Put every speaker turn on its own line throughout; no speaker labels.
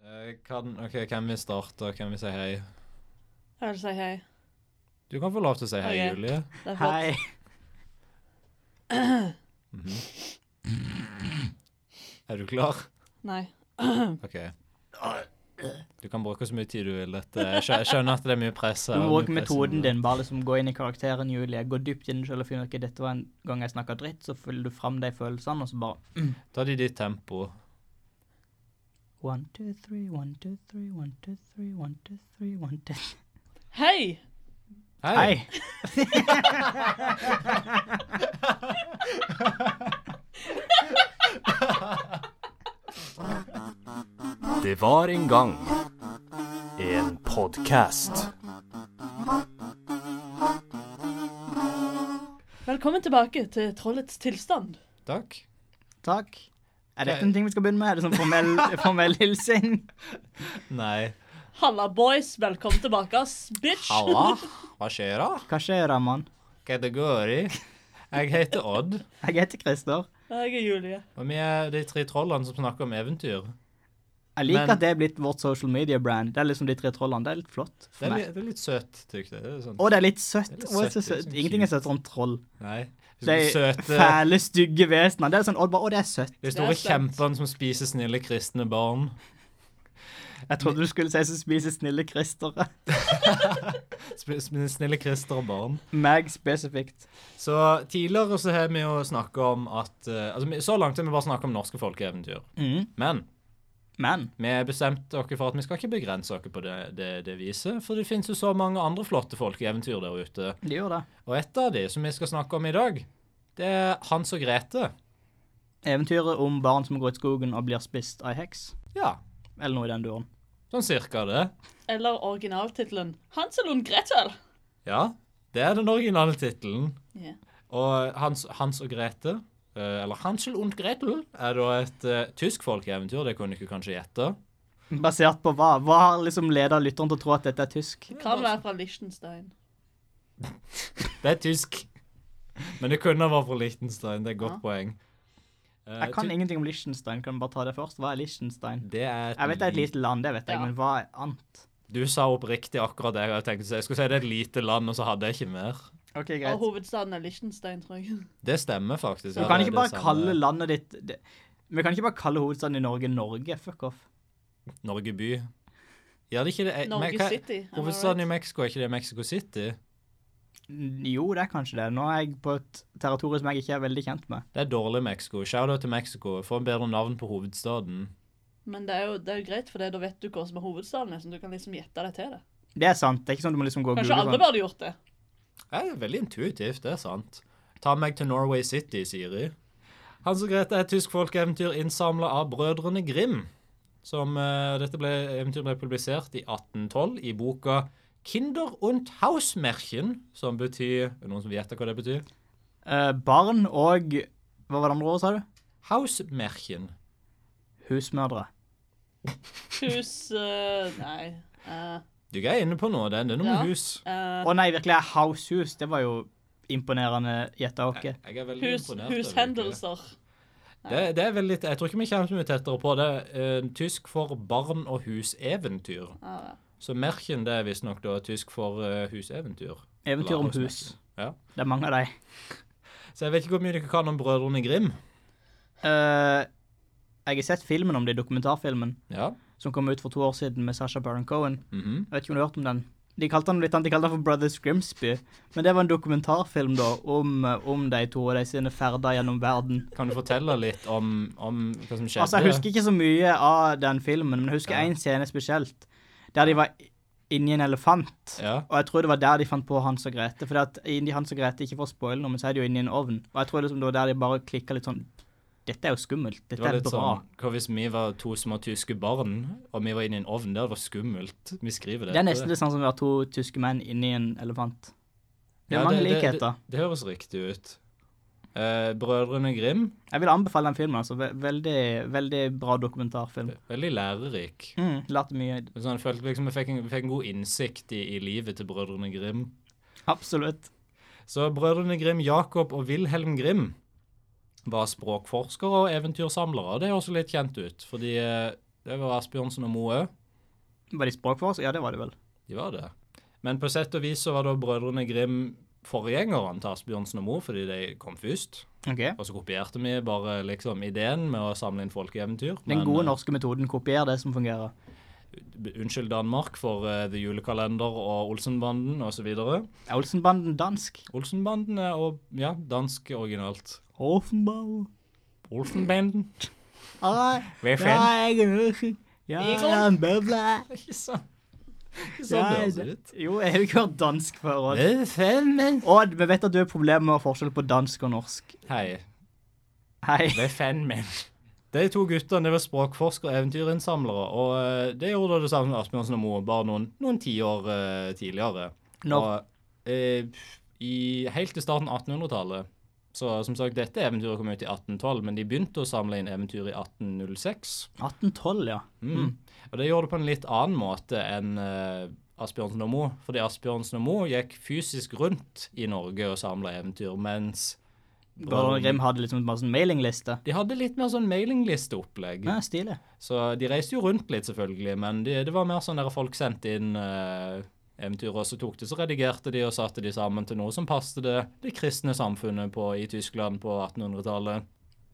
Eh, kan, ok, Hvem vil starte, og hvem vil si hei?
Jeg vil si hei.
Du kan få lov til å si hei,
Ok.
Julie.
Det er flott.
Hei.
Mhm. Er du klar?
Nei.
OK. Du kan bruke så mye tid du vil. Dette. Jeg skjø- jeg skjønner at det er mye press. her,
Du
og
må bruke
mye press
metoden
inne.
din. Bare liksom gå inn i karakteren, Julie. Gå dypt inn i deg selv og finne ut ok, dette var en gang jeg snakka dritt. Så følger du fram de følelsene, og så bare
Ta det i ditt tempo.
One, two, three, one, two, three, one, two, three, one, two, three, one, two, three.
Hei!
Hei!
Hei!
Det var en gang en podkast.
Velkommen tilbake til Trollets tilstand.
Takk.
Takk. Er dette en ting vi skal begynne med? Er det sånn formell, formell hilsen?
Nei.
Halla, boys. Velkommen tilbake, ass. Bitch.
Halla. Hva skjer da?
Hva skjer da, mann?
Hva det går i? Jeg heter Odd,
Jeg heter Christer.
Jeg er Julie.
og vi er de tre trollene som snakker om eventyr.
Jeg liker
Men-
at det er blitt vårt social media brand. Det er liksom de tre trollene. Det er litt flott
Det
for
er,
meg.
litt, det er litt søtt, tykker jeg. Det er sånn.
Og det er litt søtt.
Det er litt
Å, det er så
søtt, det er
søtt.
sånn
Ingenting er søtere enn troll.
Nei.
Det er
Søte
fæle, stygge vesener. Det er sånn, å, bare, å, det er søtt.
De
Det
store
er sant.
kjempene som spiser snille kristne barn.
Jeg trodde du skulle si så spiser snille kristere.
Sp- sp- Snille kristere barn.
Meg spesifikt.
Så tidligere så har vi jo snakka om at eh, altså, vi- Så langt har vi bare snakka om norske folkeeventyr.
Mm.
Men
Men
vi bestemte oss for at vi skal ikke begrense oss på det, det, det viset. For det finnes jo så mange andre flotte folkeeventyr der ute.
de gjør det.
Og et av de som vi skal snakke om i dag, det er Hans og Grete.
Eventyret om barn som går ut i skogen og blir spist av ei heks.
Ja,
Eller noe i den duren.
sånn cirka det.
Eller originaltittelen Hansel und Gretel.
Ja, det er den originale tittelen.
Ja.
Og Hans, Hans og Grete, eh, eller Hansel und Gretel, er da et eh, tysk folkeeventyr. Det kunne du kanskje gjette.
Basert på hva? Hva har liksom leda lytteren til å tro at dette er tysk?
Kan være fra Liechtenstein.
Det er tysk. Men det kunne vært fra Liechtenstein. Det er et godt
Ja.
poeng. Eh,
Jeg kan
ty-
ingenting om Liechtenstein. Kan vi bare ta det først? Hva er Liechtenstein?
det er
Jeg vet det er et lite land, det vet jeg,
Ja.
men hva er annet?
Du sa oppriktig akkurat det jeg hadde tenkt å si. Jeg skulle si det er et lite land, og så hadde jeg ikke mer.
Ok,
Og
greit.
hovedstaden er Liechtenstein, tror jeg.
Det stemmer faktisk.
Du
Ja,
kan
det-
ikke
det
bare
samme.
kalle landet ditt det. Vi kan ikke bare kalle hovedstaden i Norge Norge. Fuck off.
Norge by. Ja, det er ikke det. eh, men
Norge
hva-
City. am I
Hovedstaden i
right?
Mexico, er ikke det Mexico City?
Jo, det er kanskje det. Nå er jeg på et territorium som jeg ikke er veldig kjent med.
Det er dårlig Mexico. Shout-out til Mexico. Få en bedre navn på hovedstaden.
Men det er, jo, det er jo greit, for det, da vet du hva som er hovedstaden. nesten. Du kan liksom gjette deg til det.
Det er sant. Det er ikke sånn du må liksom gå og
Kanskje
google
alle
sånn.
burde gjort det.
Ja, det er veldig intuitivt, det er sant. Ta meg til Norway City, Siri. Hans og Grete er et tysk folkeeventyr innsamla av brødrene Grim. Som, eh, dette ble, eventyret ble publisert i 1812 i boka Kinder und Hausmärchen, som betyr er det Noen som vet hva det betyr?
Eh, barn og Hva var det andre ordet, sa du?
Hausmärchen.
Husmødre.
Hus eh, Nei. eh,
Du er inne på noe, det er det er noe
Ja.
med hus.
eh,
Å nei, virkelig. er Househus. Det var jo imponerende gjetta åke.
Jeg er veldig
hus,
imponert. over det.
hushendelser.
Det, det er veldig, jeg tror ikke vi kommer så mye tettere på det. Eh, tysk for barn- og huseventyr.
Ja, ja.
Så Märchen det er visstnok da tysk for eh, huseventyr.
Eventyr om
Eller
hus.
Hausmärchen. Ja.
Det er mange av dem.
Så jeg vet ikke hvor mye dere kan om Brødrene Grim.
Eh, jeg har sett filmen om det, dokumentarfilmen,
Ja.
som kom ut for to år siden med Sasha Baron Cohen.
mhm.
Jeg vet ikke om du har hørt om den. De kalte den litt annet, de kalte den for Brothers Grimsby. Men det var en dokumentarfilm da, om, eh, om de to og de sine ferder gjennom verden.
Kan du fortelle litt om, om hva som skjedde?
Altså, jeg husker ikke så mye av den filmen, men jeg husker
Ja.
én scene spesielt. Der de var inni en elefant.
Ja.
Og jeg tror det var der de fant på Hans og Grete. For at inni Hans og Grete ikke for å spoile noe, men så er de jo inni en ovn. Og jeg tror liksom det var der de bare klikka litt sånn Dette er jo skummelt.
Det
Dette
var
er
litt
bra.
sånn, Hva hvis vi var to små tyske barn, og vi var inne i en ovn der? Det var skummelt. Vi skriver det.
Det er nesten det samme som å være to tyske menn inni en elefant. Det er
Ja,
mange
det-
likheter.
Det, det høres riktig ut. Eh, Brødrene Grim,
Jeg vil anbefale den filmen. altså. Ve- Veldig, veldig bra dokumentarfilm.
veldig lærerik.
Mm, lærte mye.
Men Sånn, jeg følte liksom jeg fikk, en, fikk en god innsikt i, i livet til Brødrene Grim.
Absolutt.
Så brødrene Grim, Jakob og Wilhelm Grim var språkforskere og eventyrsamlere. Det høres jo litt kjent ut, fordi eh, det var Asbjørnsen og Moe òg.
Var de språkforsker? Ja, det var det vel.
De var det. Men på sett og vis så var da Brødrene Grim forgjengerne til Asbjørnsen og Moe, fordi de kom først.
Ok.
Og så kopierte vi bare liksom ideen med å samle inn folkeeventyr.
Den
men,
gode
eh,
norske metoden kopier det som fungerer.
b- Unnskyld Danmark for eh, The Julekalender og Olsenbanden osv.
Er Olsenbanden dansk?
Olsenbanden er og, ja, dansk originalt.
Offenball.
Olsenbanden.
Nei,
Hver
ja, jeg er norsk. Ja, jeg er en bøble.
Ikke sant? Ikke sant det
Ja,
Sånn høres
jeg-
ut.
Jo, jeg har jo ikke hørt dansk før. Odd.
Velfemmen.
Odd, vi vet at du har problemer med forskjell på dansk og norsk.
Hei.
Hei.
Velfemmen. De to guttene de var språkforskere og eventyrinnsamlere, og eh, det gjorde det samme som Asbjørnsen og Moe, bare noen, noen tiår eh, tidligere.
Når,
Og, eh, i, helt til starten av 1800-tallet. Så som sagt, dette eventyret kom ut i 1812, men de begynte å samle inn eventyr i 1806.
1812, ja.
Mm. Og det gjorde det på en litt annen måte enn eh, Asbjørnsen og Moe. Fordi Asbjørnsen og Moe gikk fysisk rundt i Norge og samla eventyr, mens
Brødrene Grim hadde liksom bare sånn mailingliste.
de hadde litt mer sånn mailinglisteopplegg.
Ja, stilig.
Så de reiste jo rundt litt, selvfølgelig, men de, det var mer sånn der folk sendte inn eh, eventyr, og så tok de, så redigerte de og satte de sammen til noe som passet det, det kristne samfunnet på, i Tyskland på 1800-tallet.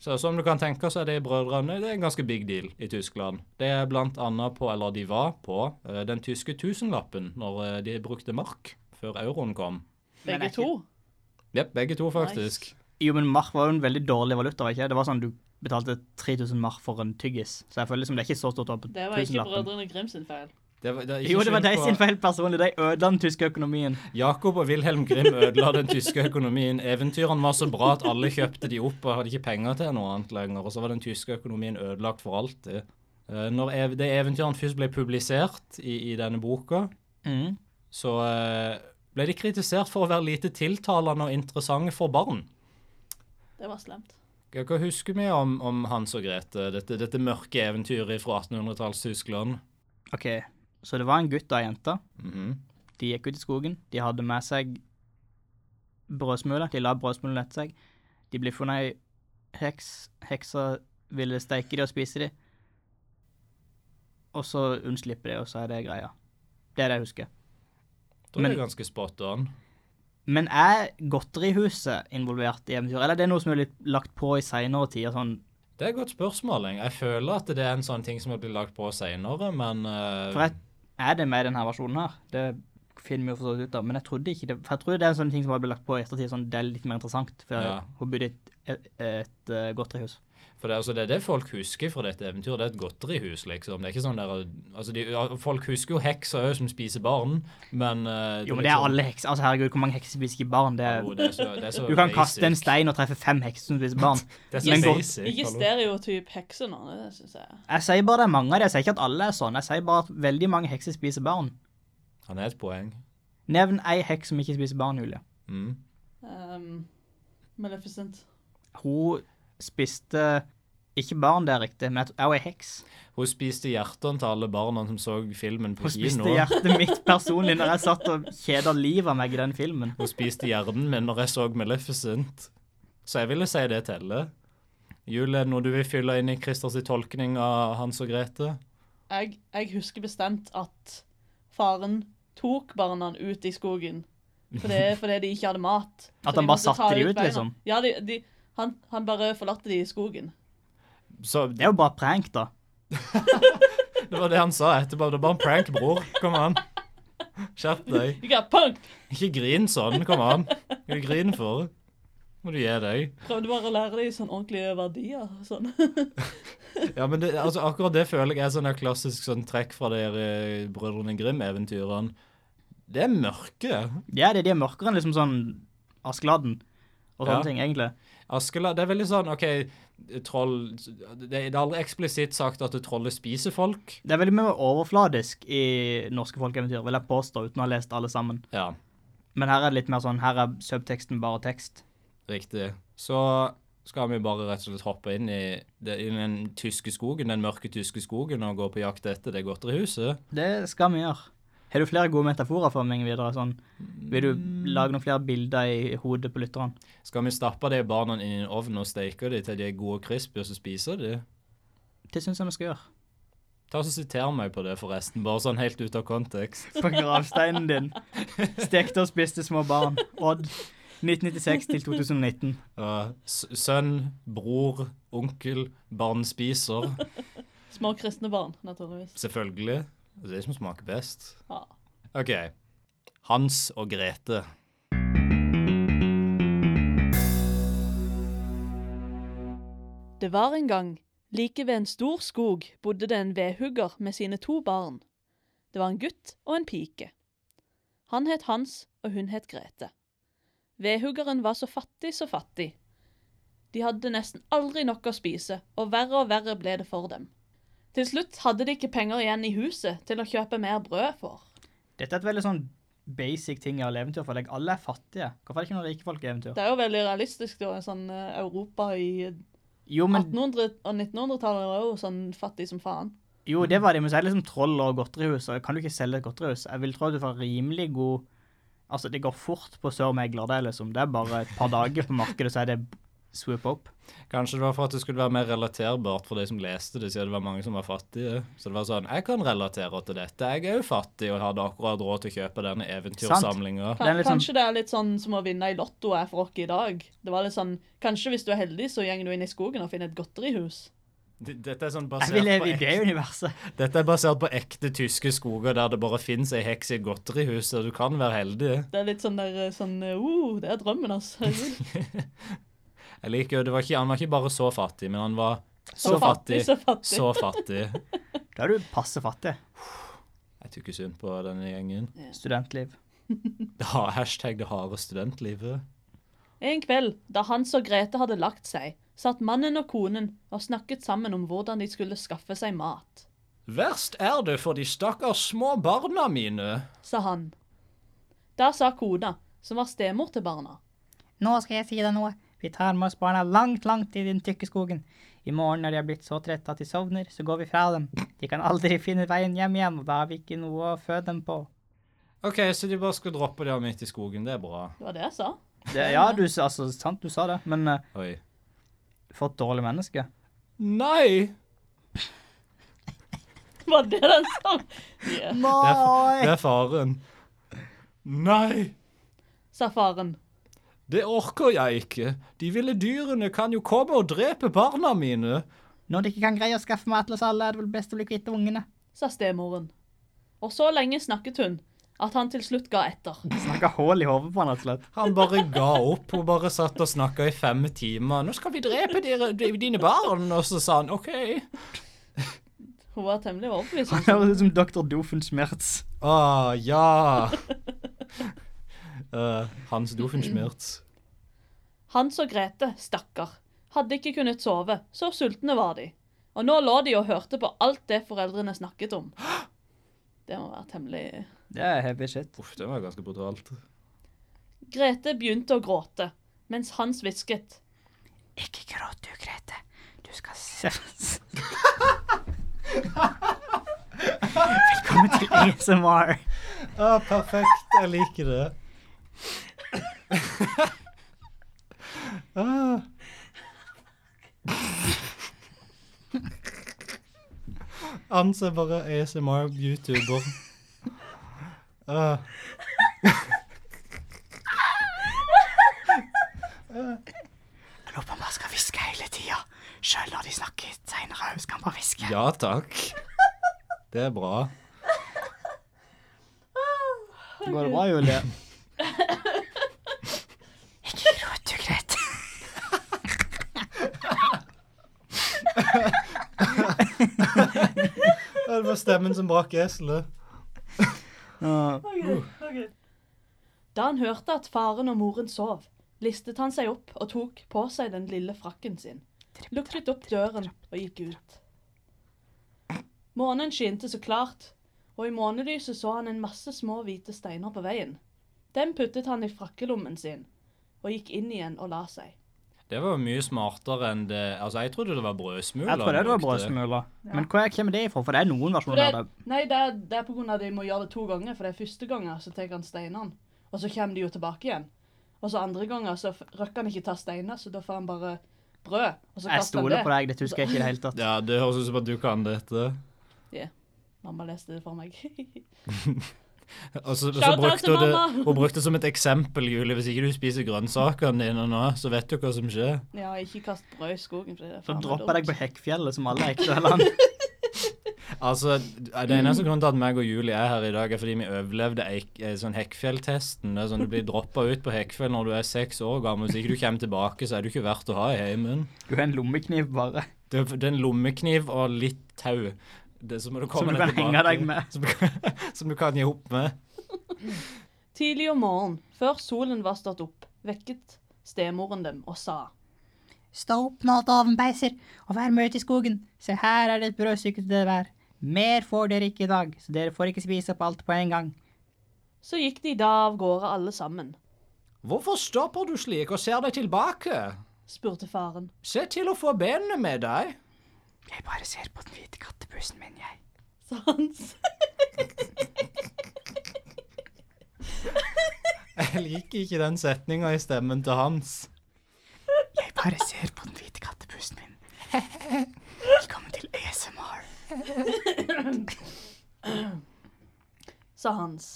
Så som du kan tenke, så er de brødrene det er en ganske big deal i Tyskland. Det er blant annet på, eller de var på, eh, den tyske tusenlappen når eh, de brukte mark før euroen kom.
Men er
Begge
ikke-
to.
Jepp, begge to faktisk.
Jo, men mark var jo en veldig dårlig valuta, var ikke det? Det var sånn du betalte 3000 mark for en tyggis. Så jeg føler liksom det er ikke så stort opp på
Det var ikke
tusenlappen.
Brødrene Grimm sin feil.
Det var- det er ikke
Jo, det var
skyld
de
på-
sin feil personlig. De ødela den tyske økonomien.
Jakob og Wilhelm Grimm ødela den tyske økonomien. Eventyrene var så bra at alle kjøpte de opp og hadde ikke penger til noe annet lenger. Og så var den tyske økonomien ødelagt for alltid. Eh, Når ev de eventyrene først ble publisert i, i denne boka,
Mm.
så eh, ble de kritisert for å være lite tiltalende og interessante for barn.
Det var slemt.
Hva hva husker vi om, om Hans og Grete, dette, dette mørke eventyret fra 1800-tallstyskland?
OK, så det var en gutt og ei jente.
Mhm.
De gikk ut i skogen. De hadde med seg brødsmuler. De la brødsmulene etter seg. De ble funnet ei heks. Heksa ville steike de og spise de. Og så unnslipper de, og så er det greia. Det er det jeg husker.
Da er
Men-
det ganske spot on.
Men er godterihuset involvert i eventyret, eller er det noe som er litt lagt på i seinere tider? Sånn,
Det er et godt spørsmål. Eng. Jeg føler at det er en sånn ting som har blitt lagt på seinere, men eh,
for jeg, er det med i denne versjonen her? Det finner vi jo for så vidt ut av, men jeg trodde ikke det. For jeg tror det er en sånn ting som har blitt lagt på i ettertid, sånn det er litt mer interessant. For
Ja.
hun bodde i et, et, et eh, godterihus.
For det, er altså, det er det folk husker fra dette eventyret. Det er et godterihus, liksom. Det er ikke sånn der, altså, de, ja, folk husker jo hekser òg, som spiser barn, men eh,
Jo, men det er alle hekser. Altså, herregud, hvor mange hekser spiser ikke barn? Det er,
Jo, det er så, det er så
du kan
basic.
kaste en stein og treffe fem hekser som spiser barn.
Det er
men
så
godt-
basic.
Ikke
hallo.
stereotyp hekse nå, det syns jeg.
Jeg sier bare det er mange av dem. Jeg sier ikke at alle er sånn. Jeg sier bare at veldig mange hekser spiser barn.
Han er et poeng.
Nevn ei heks som ikke spiser barn, Julie.
Mm.
Um, Maleficent.
Hun spiste ikke barn, det er riktig, men jeg tror- hun er heks.
Hun spiste hjertene til alle barna som så filmen på
Hun spiste
kino.
hjertet mitt personlig når jeg satt og kjeda livet av meg i den filmen.
Hun spiste hjernen min når jeg så Maleficent. Så jeg ville si det teller. Julie, noe du vil fylle inn i Christers tolkning av Hans og Grete?
Jeg, jeg husker bestemt at faren tok barna ut i skogen fordi, fordi de ikke hadde mat. Så
At han
de
bare
måtte ta
satte de ut,
beina.
liksom?
Ja, de, de, han, han bare forlatte de i skogen.
Så
Det er jo bare prank, da.
Det var det han sa etterpå. Det var bare en prank, bror. Kom an. Skjerp deg.
You got punked!
Ikke grin sånn. Kom an. Hva du griner for? Må du gi deg.
Prøvde bare å lære dem sånn ordentlige verdier. og Sånn.
Ja, men det, altså, akkurat det føler jeg er sånn et klassisk sånn trekk fra de eh, Brødrene Grim-eventyrene. Det er mørke.
Ja, det er de er mørkere enn liksom sånn Askeladden og sånne
Ja.
ting, egentlig.
Askeladd Det er veldig sånn OK, troll Det det er aldri eksplisitt sagt at trollet spiser folk.
Det er veldig mye overfladisk i norske folkeeventyr, vil jeg påstå, uten å ha lest alle sammen.
Ja.
Men her er det litt mer sånn, her er subteksten bare tekst.
Riktig. Så skal vi bare rett og slett hoppe inn i, det- i den tyske skogen, den mørke tyske skogen og gå på jakt etter det godterihuset.
Det skal vi gjøre. Har du flere gode metaforer for meg videre? Sånn, vil du lage noen flere bilder i hodet på lytteren?
Skal vi stappe de barna inn i ovnen og steke de til de er gode og crispy, og så spiser de?
Det syns jeg vi skal gjøre.
Ta og Siter meg på det, forresten. Bare sånn helt ut av kontekst.
på gravsteinen din. Stekte og spiste små barn. Odd. 1996 til 2019.
Uh, s- sønn, bror, onkel, barnespiser.
Små kristne barn, naturligvis.
Selvfølgelig. Det er de som smaker best.
Ja.
OK. Hans og Grete.
Det var en gang, like ved en stor skog, bodde det en vedhugger med sine to barn. Det var en gutt og en pike. Han het Hans, og hun het Grete. Vedhuggeren var så fattig, så fattig. De hadde nesten aldri nok å spise, og verre og verre ble det for dem. Til slutt hadde de ikke penger igjen i huset til å kjøpe mer brød for.
Dette er et veldig sånn basic ting i alle eventyr for deg. Alle er fattige. Hvorfor er det ikke noen rike folk i eventyr?
Det er jo veldig realistisk, da. en Sånn eh, Europa i
Jo, men
1800- og 1900-tallet var jo sånn fattig som faen.
Jo, det var det, men så er det liksom troll og godterihus, og kan du ikke selge et godterihus? Jeg vil tro at du får rimelig god Altså, det går fort på sørmegler, det er liksom. Det er bare et par dager på markedet, så er det swoop opp.
Kanskje det var for at det skulle være mer relaterbart for de som leste det, siden det var mange som var fattige. Så det var sånn Jeg kan relatere til dette. Jeg er jo fattig og hadde akkurat råd til å kjøpe denne eventyrsamlinga.
Det er litt sånn-
Kanskje det er litt sånn som å vinne i Lotto er for oss i dag. Det var litt sånn, Kanskje hvis du er heldig, så går du inn i skogen og finner et godterihus.
D- Dette er sånn
Jeg
basert
vil
på
leve i det
ekte,
universet.
Dette er basert på ekte tyske skoger der det bare fins ei heks i et godterihus, og du kan være heldig.
Det er litt sånn der eh, sånn Uh, det er drømmen, altså. Herregud.
Jeg liker jo, det var ikke, Han var ikke bare så fattig, men han var så, fattig,
Så fattig.
så fattig.
Da er du passe fattig.
Jeg tok ikke synd på denne gjengen.
Studentliv.
Det har hashtag det harde studentlivet.
En kveld, da Hans og Grete hadde lagt seg, satt mannen og konen og snakket sammen om hvordan de skulle skaffe seg mat.
Verst er det for de stakkars små barna mine.
Sa han. Da sa kona, som var stemor til barna.
Nå skal jeg si deg noe. Vi tar med oss barna langt, langt i den tykke skogen. I morgen når de har blitt så trette at de sovner, så går vi fra dem. De kan aldri finne veien hjem igjen, og da har vi ikke noe å føde dem på.
OK, så de bare skal droppe det her midt i skogen. Det er bra.
Det var det jeg sa.
Det, ja, du, sa- altså, sant du sa det, men eh,
Oi.
for et dårlig menneske.
Nei!
Var det den som
Det
Ja,
er, fa- det er faren. Nei!
Sa faren.
Det orker jeg ikke. De ville dyrene kan jo komme og drepe barna mine.
Når de ikke kan greie å skaffe mat til oss alle, er det vel best å bli kvitt ungene.
sa stemoren. Og så lenge snakket hun at han til slutt ga etter.
Snakka hull i hodet på han, rett og slett.
Han bare ga opp. Hun bare satt og snakka i fem timer. 'Nå skal vi drepe dere, dine barn.' Og så sa han OK.
Hun var temmelig overbevist. om
Han høres ut som Dr. Doofenschmerz.
Å, ja. Eh, Hans Doofenschmerz.
Hans og Grete, stakkar, hadde ikke kunnet sove, så sultne var de. Og nå lå de og hørte på alt det foreldrene snakket om. Det må være temmelig
Det er heavy shit.
Uff, det var ganske brutalt.
Grete begynte å gråte, mens Hans hvisket.
Ikke gråt du, Grete. Du skal ses. Velkommen til ASMR.
Ja, perfekt. Jeg liker det. ah. Anse bare ASMR-youtuber. Ah.
Jeg lurer på om han skal hviske hele tida. Sjøl når de snakker seinere òg, skal han bare hviske.
Ja takk. Det er bra.
Går det bra, Julie? Ikke gråt du, Grete.
Ja, Det var stemmen som brakk eselet.
Da han hørte at faren og moren sov, listet han seg opp og tok på seg den lille frakken sin. Lukket opp døren og gikk ut. Månen skinte så klart, og i månelyset så han en masse små hvite steiner på veien. Dem puttet han i frakkelommen sin, og gikk inn igjen og la seg.
Det var mye smartere enn det Altså, jeg trodde det var brødsmuler.
Jeg tror det
han
var
brukte.
brødsmuler. Men hvor kommer det ifra? For det er
For
noen versjoner av
det,
det.
nei, det er, det er på grunn av at de må gjøre det to ganger, for det er første ganger så tar han steinene, og så kommer de jo tilbake igjen. Og så andre ganger så f- røkker han ikke ta steiner, så da får han bare brød, og så kaster
Jeg
han
stoler
det.
på deg, dette husker jeg ikke i det hele tatt.
Ja, det høres ut som at du kan dette.
Mamma leste det for meg.
Og så, så
Shout out
brukte
til
hun det,
mamma!
hun brukte det som et eksempel, Julie. Hvis ikke du spiser grønnsakene dine nå, så vet du hva som skjer.
ja, ikke kast brød i skogen. For det er
Så
faen meg
dropper jeg deg
dumt.
på Hekkfjellet som alle ektehelene.
Altså, Det eneste grunnen til at meg og Julie er her i dag, er fordi vi overlevde eik- eh, sånn Hekkfjelltesten. Det er sånn Du blir droppa ut på Hekkfjell når du er seks år gammel. Hvis ikke du kommer tilbake, så er du ikke verdt å ha i heimen.
Du har en lommekniv bare,
Det er det er en lommekniv og litt tau. Det som, du
som du kan henge deg med.
Som, du kan- som du kan gi opp med.
Tidlig om morgenen, før solen var stått opp, vekket stemoren dem og sa.
Stå opp nå, dovenbeiser, og vær med ut i skogen. Se her er det et brødstykke til dere hver. Mer får dere ikke i dag, så dere får ikke spise opp alt på en gang.
Så gikk de da av gårde alle sammen,
Hvorfor stopper du slik og ser deg tilbake?
spurte faren.
Se til å få benene med deg.
Jeg bare ser på den hvite kattebussen min, jeg.
Så hans
Jeg liker ikke den setninga i stemmen til Hans.
Jeg bare ser på den hvite kattebussen min. Velkommen til ASMR.
sa Hans,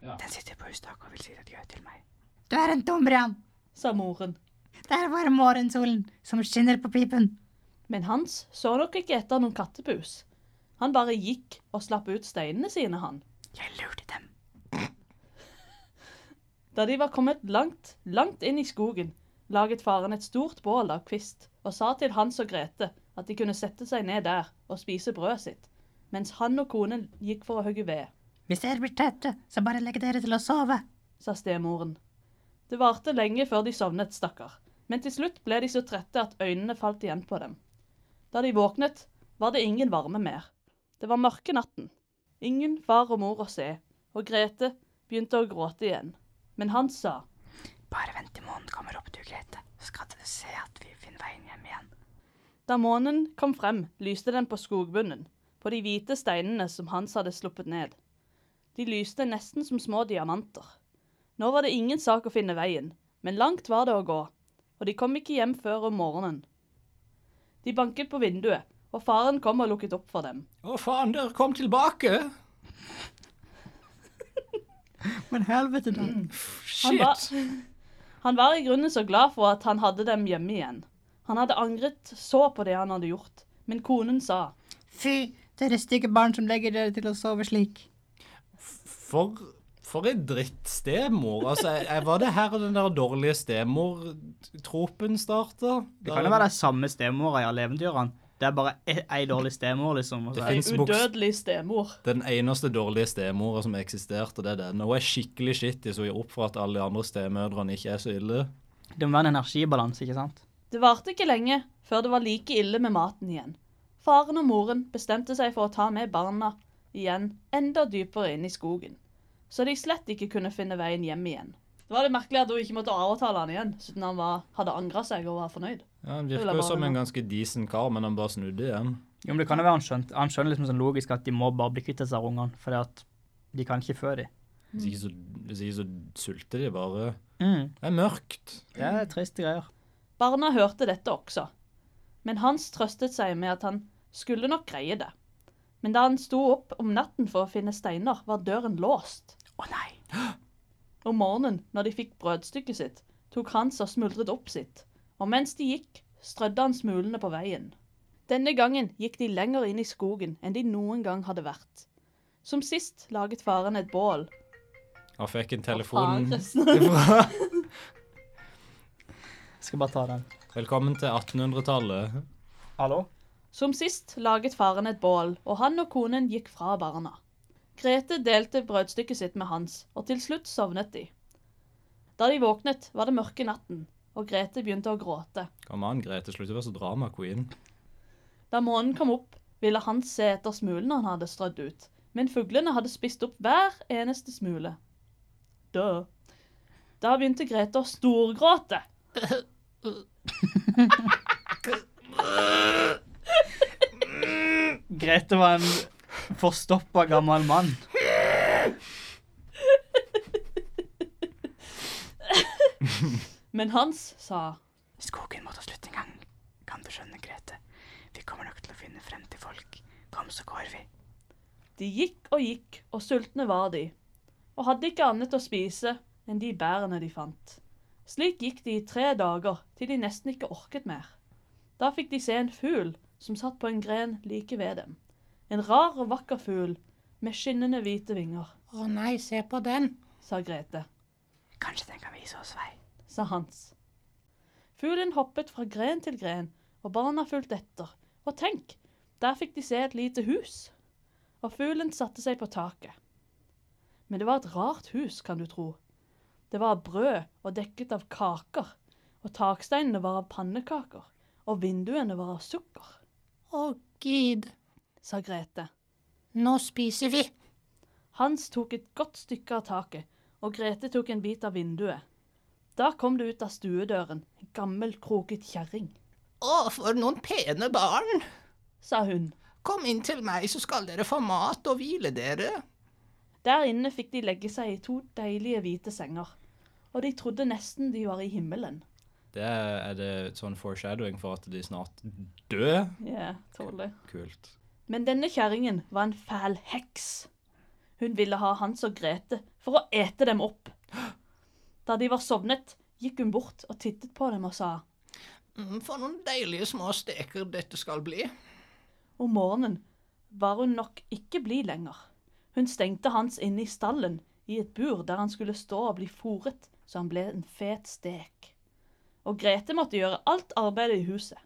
Den sitter på hustak og vil si et gjør til meg. Du er en dum, Brian.
sa moren.
Det er bare morgensolen som skinner på pipen.
Men Hans så nok ikke etter noen kattepus. Han bare gikk og slapp ut steinene sine, han.
Jeg lurte dem.
Da de var kommet langt, langt inn i skogen, laget faren et stort bål av kvist og sa til Hans og Grete at de kunne sette seg ned der og spise brødet sitt, mens han og konen gikk for å hogge ved,
Hvis dere blir trette, så bare legg dere til å sove.
sa stemoren. Det varte lenge før de sovnet, stakkar, men til slutt ble de så trette at øynene falt igjen på dem. Da de våknet, var det ingen varme mer. Det var mørke natten. Ingen far og mor å se, og Grete begynte å gråte igjen. Men Hans sa
Bare vent til månen kommer opp, du, Grete. Så skal dere se at vi finner veien hjem igjen.
Da månen kom frem, lyste den på skogbunnen, på de hvite steinene som Hans hadde sluppet ned. De lyste nesten som små diamanter. Nå var det ingen sak å finne veien, men langt var det å gå, og de kom ikke hjem før om morgenen. De banket på vinduet, og faren kom og lukket opp for dem.
Å faen, dere kom tilbake.
Men helvete, da.
Mm.
Han var,
Shit.
han var i grunnen så glad for at han hadde dem hjemme igjen. Han hadde angret så på det han hadde gjort, men konen sa
Fy, dere stygge barn som legger dere til å sove slik.
For, for en drittstemor. Altså, jeg, jeg var det her den der dårlige stemortropen starta?
Det kan jo være det samme stemora i alle eventyrene. Det er bare e- ei dårlig stemor, liksom. Og så
Det
er
Ei
finnes boks-
udødelig stemor.
Den eneste dårlige stemora som eksisterte, det er denne. Hun er skikkelig shitty, så hun gir opp for at alle de andre stemødrene ikke er så ille.
det må være en energibalanse, ikke sant?
Det varte ikke lenge før det var like ille med maten igjen. Faren og moren bestemte seg for å ta med barna igjen enda dypere inn i skogen, så de slett ikke kunne finne veien hjem igjen. Det var det merkelig at hun ikke måtte avtale han igjen, siden han var, hadde angra seg og var fornøyd.
Ja, Han
Ulla
virker jo som
Barne.
en ganske decent kar, men han bare snudde igjen.
Jo, men det kan jo være han skjønt. Han skjønner liksom sånn logisk at de må bare bli kvitt disse ungene, for at de kan ikke føde dem.
Hvis ikke så, hvis ikke så sulter de bare.
Mm.
Det er mørkt.
Det er triste greier.
Barna hørte dette også, men Hans trøstet seg med at han skulle nok greie det. Men da han sto opp om natten for å finne steiner, var døren låst.
Å nei.
Om morgenen, når de fikk brødstykket sitt, tok Hans og smuldret opp sitt, og mens de gikk, strødde han smulene på veien. Denne gangen gikk de lenger inn i skogen enn de noen gang hadde vært. Som sist laget faren et bål.
Han fikk en
Faen,
telefon
Kristian.
fra
Jeg skal bare ta den.
Velkommen til 1800-tallet.
Hallo?
Som sist laget faren et bål, og han og konen gikk fra barna. Grete delte brødstykket sitt med Hans, og til slutt sovnet de. Da de våknet, var det mørke natten, og Grete begynte å gråte.
Kom an, Grete, slutt å være så drama queen.
Da månen kom opp, ville Hans se etter smulene han hadde strødd ut, men fuglene hadde spist opp hver eneste smule. Da. Da begynte Grete å storgråte.
Grete var en forstoppa gammel mann.
Men Hans sa
Skogen må ta slutt en gang. Kan du skjønne, Grete? Vi kommer nok til å finne frem til folk. Kom, så går vi.
De gikk og gikk, og sultne var de, og hadde ikke annet å spise enn de bærene de fant. Slik gikk de i tre dager, til de nesten ikke orket mer. Da fikk de se en fugl som satt på en gren like ved dem. En rar og vakker fugl med skinnende hvite vinger,
Å nei, se på den.
sa Grete,
Kanskje den kan vise oss vei.
sa Hans. Fuglen hoppet fra gren til gren, og barna fulgte etter. Og tenk, der fikk de se et lite hus. Og fuglen satte seg på taket. Men det var et rart hus, kan du tro. Det var av brød og dekket av kaker, og taksteinene var av pannekaker, og vinduene var av sukker,
Å gid,
sa Grete.
nå spiser vi.
Hans tok et godt stykke av taket, og Grete tok en bit av vinduet. Da kom det ut av stuedøren en gammel, kroket kjerring,
Å, for noen pene barn.
sa hun.
Kom inn til meg, så skal dere få mat og hvile dere.
Der inne fikk de legge seg i to deilige hvite senger, og de trodde nesten de var i himmelen.
Det er, er det et sånn foreshadowing for at de snart dør?
Ja, tåler.
Kult.
Men denne kjerringen var en fæl heks. Hun ville ha Hans og Grete for å ete dem opp. Da de var sovnet, gikk hun bort og tittet på dem og sa
Mm, For noen deilige små steker dette skal bli.
om morgenen var hun nok ikke blid lenger. Hun stengte Hans inne i stallen, i et bur der han skulle stå og bli fôret, så han ble en fet stek. Og Grete måtte gjøre alt arbeidet i huset.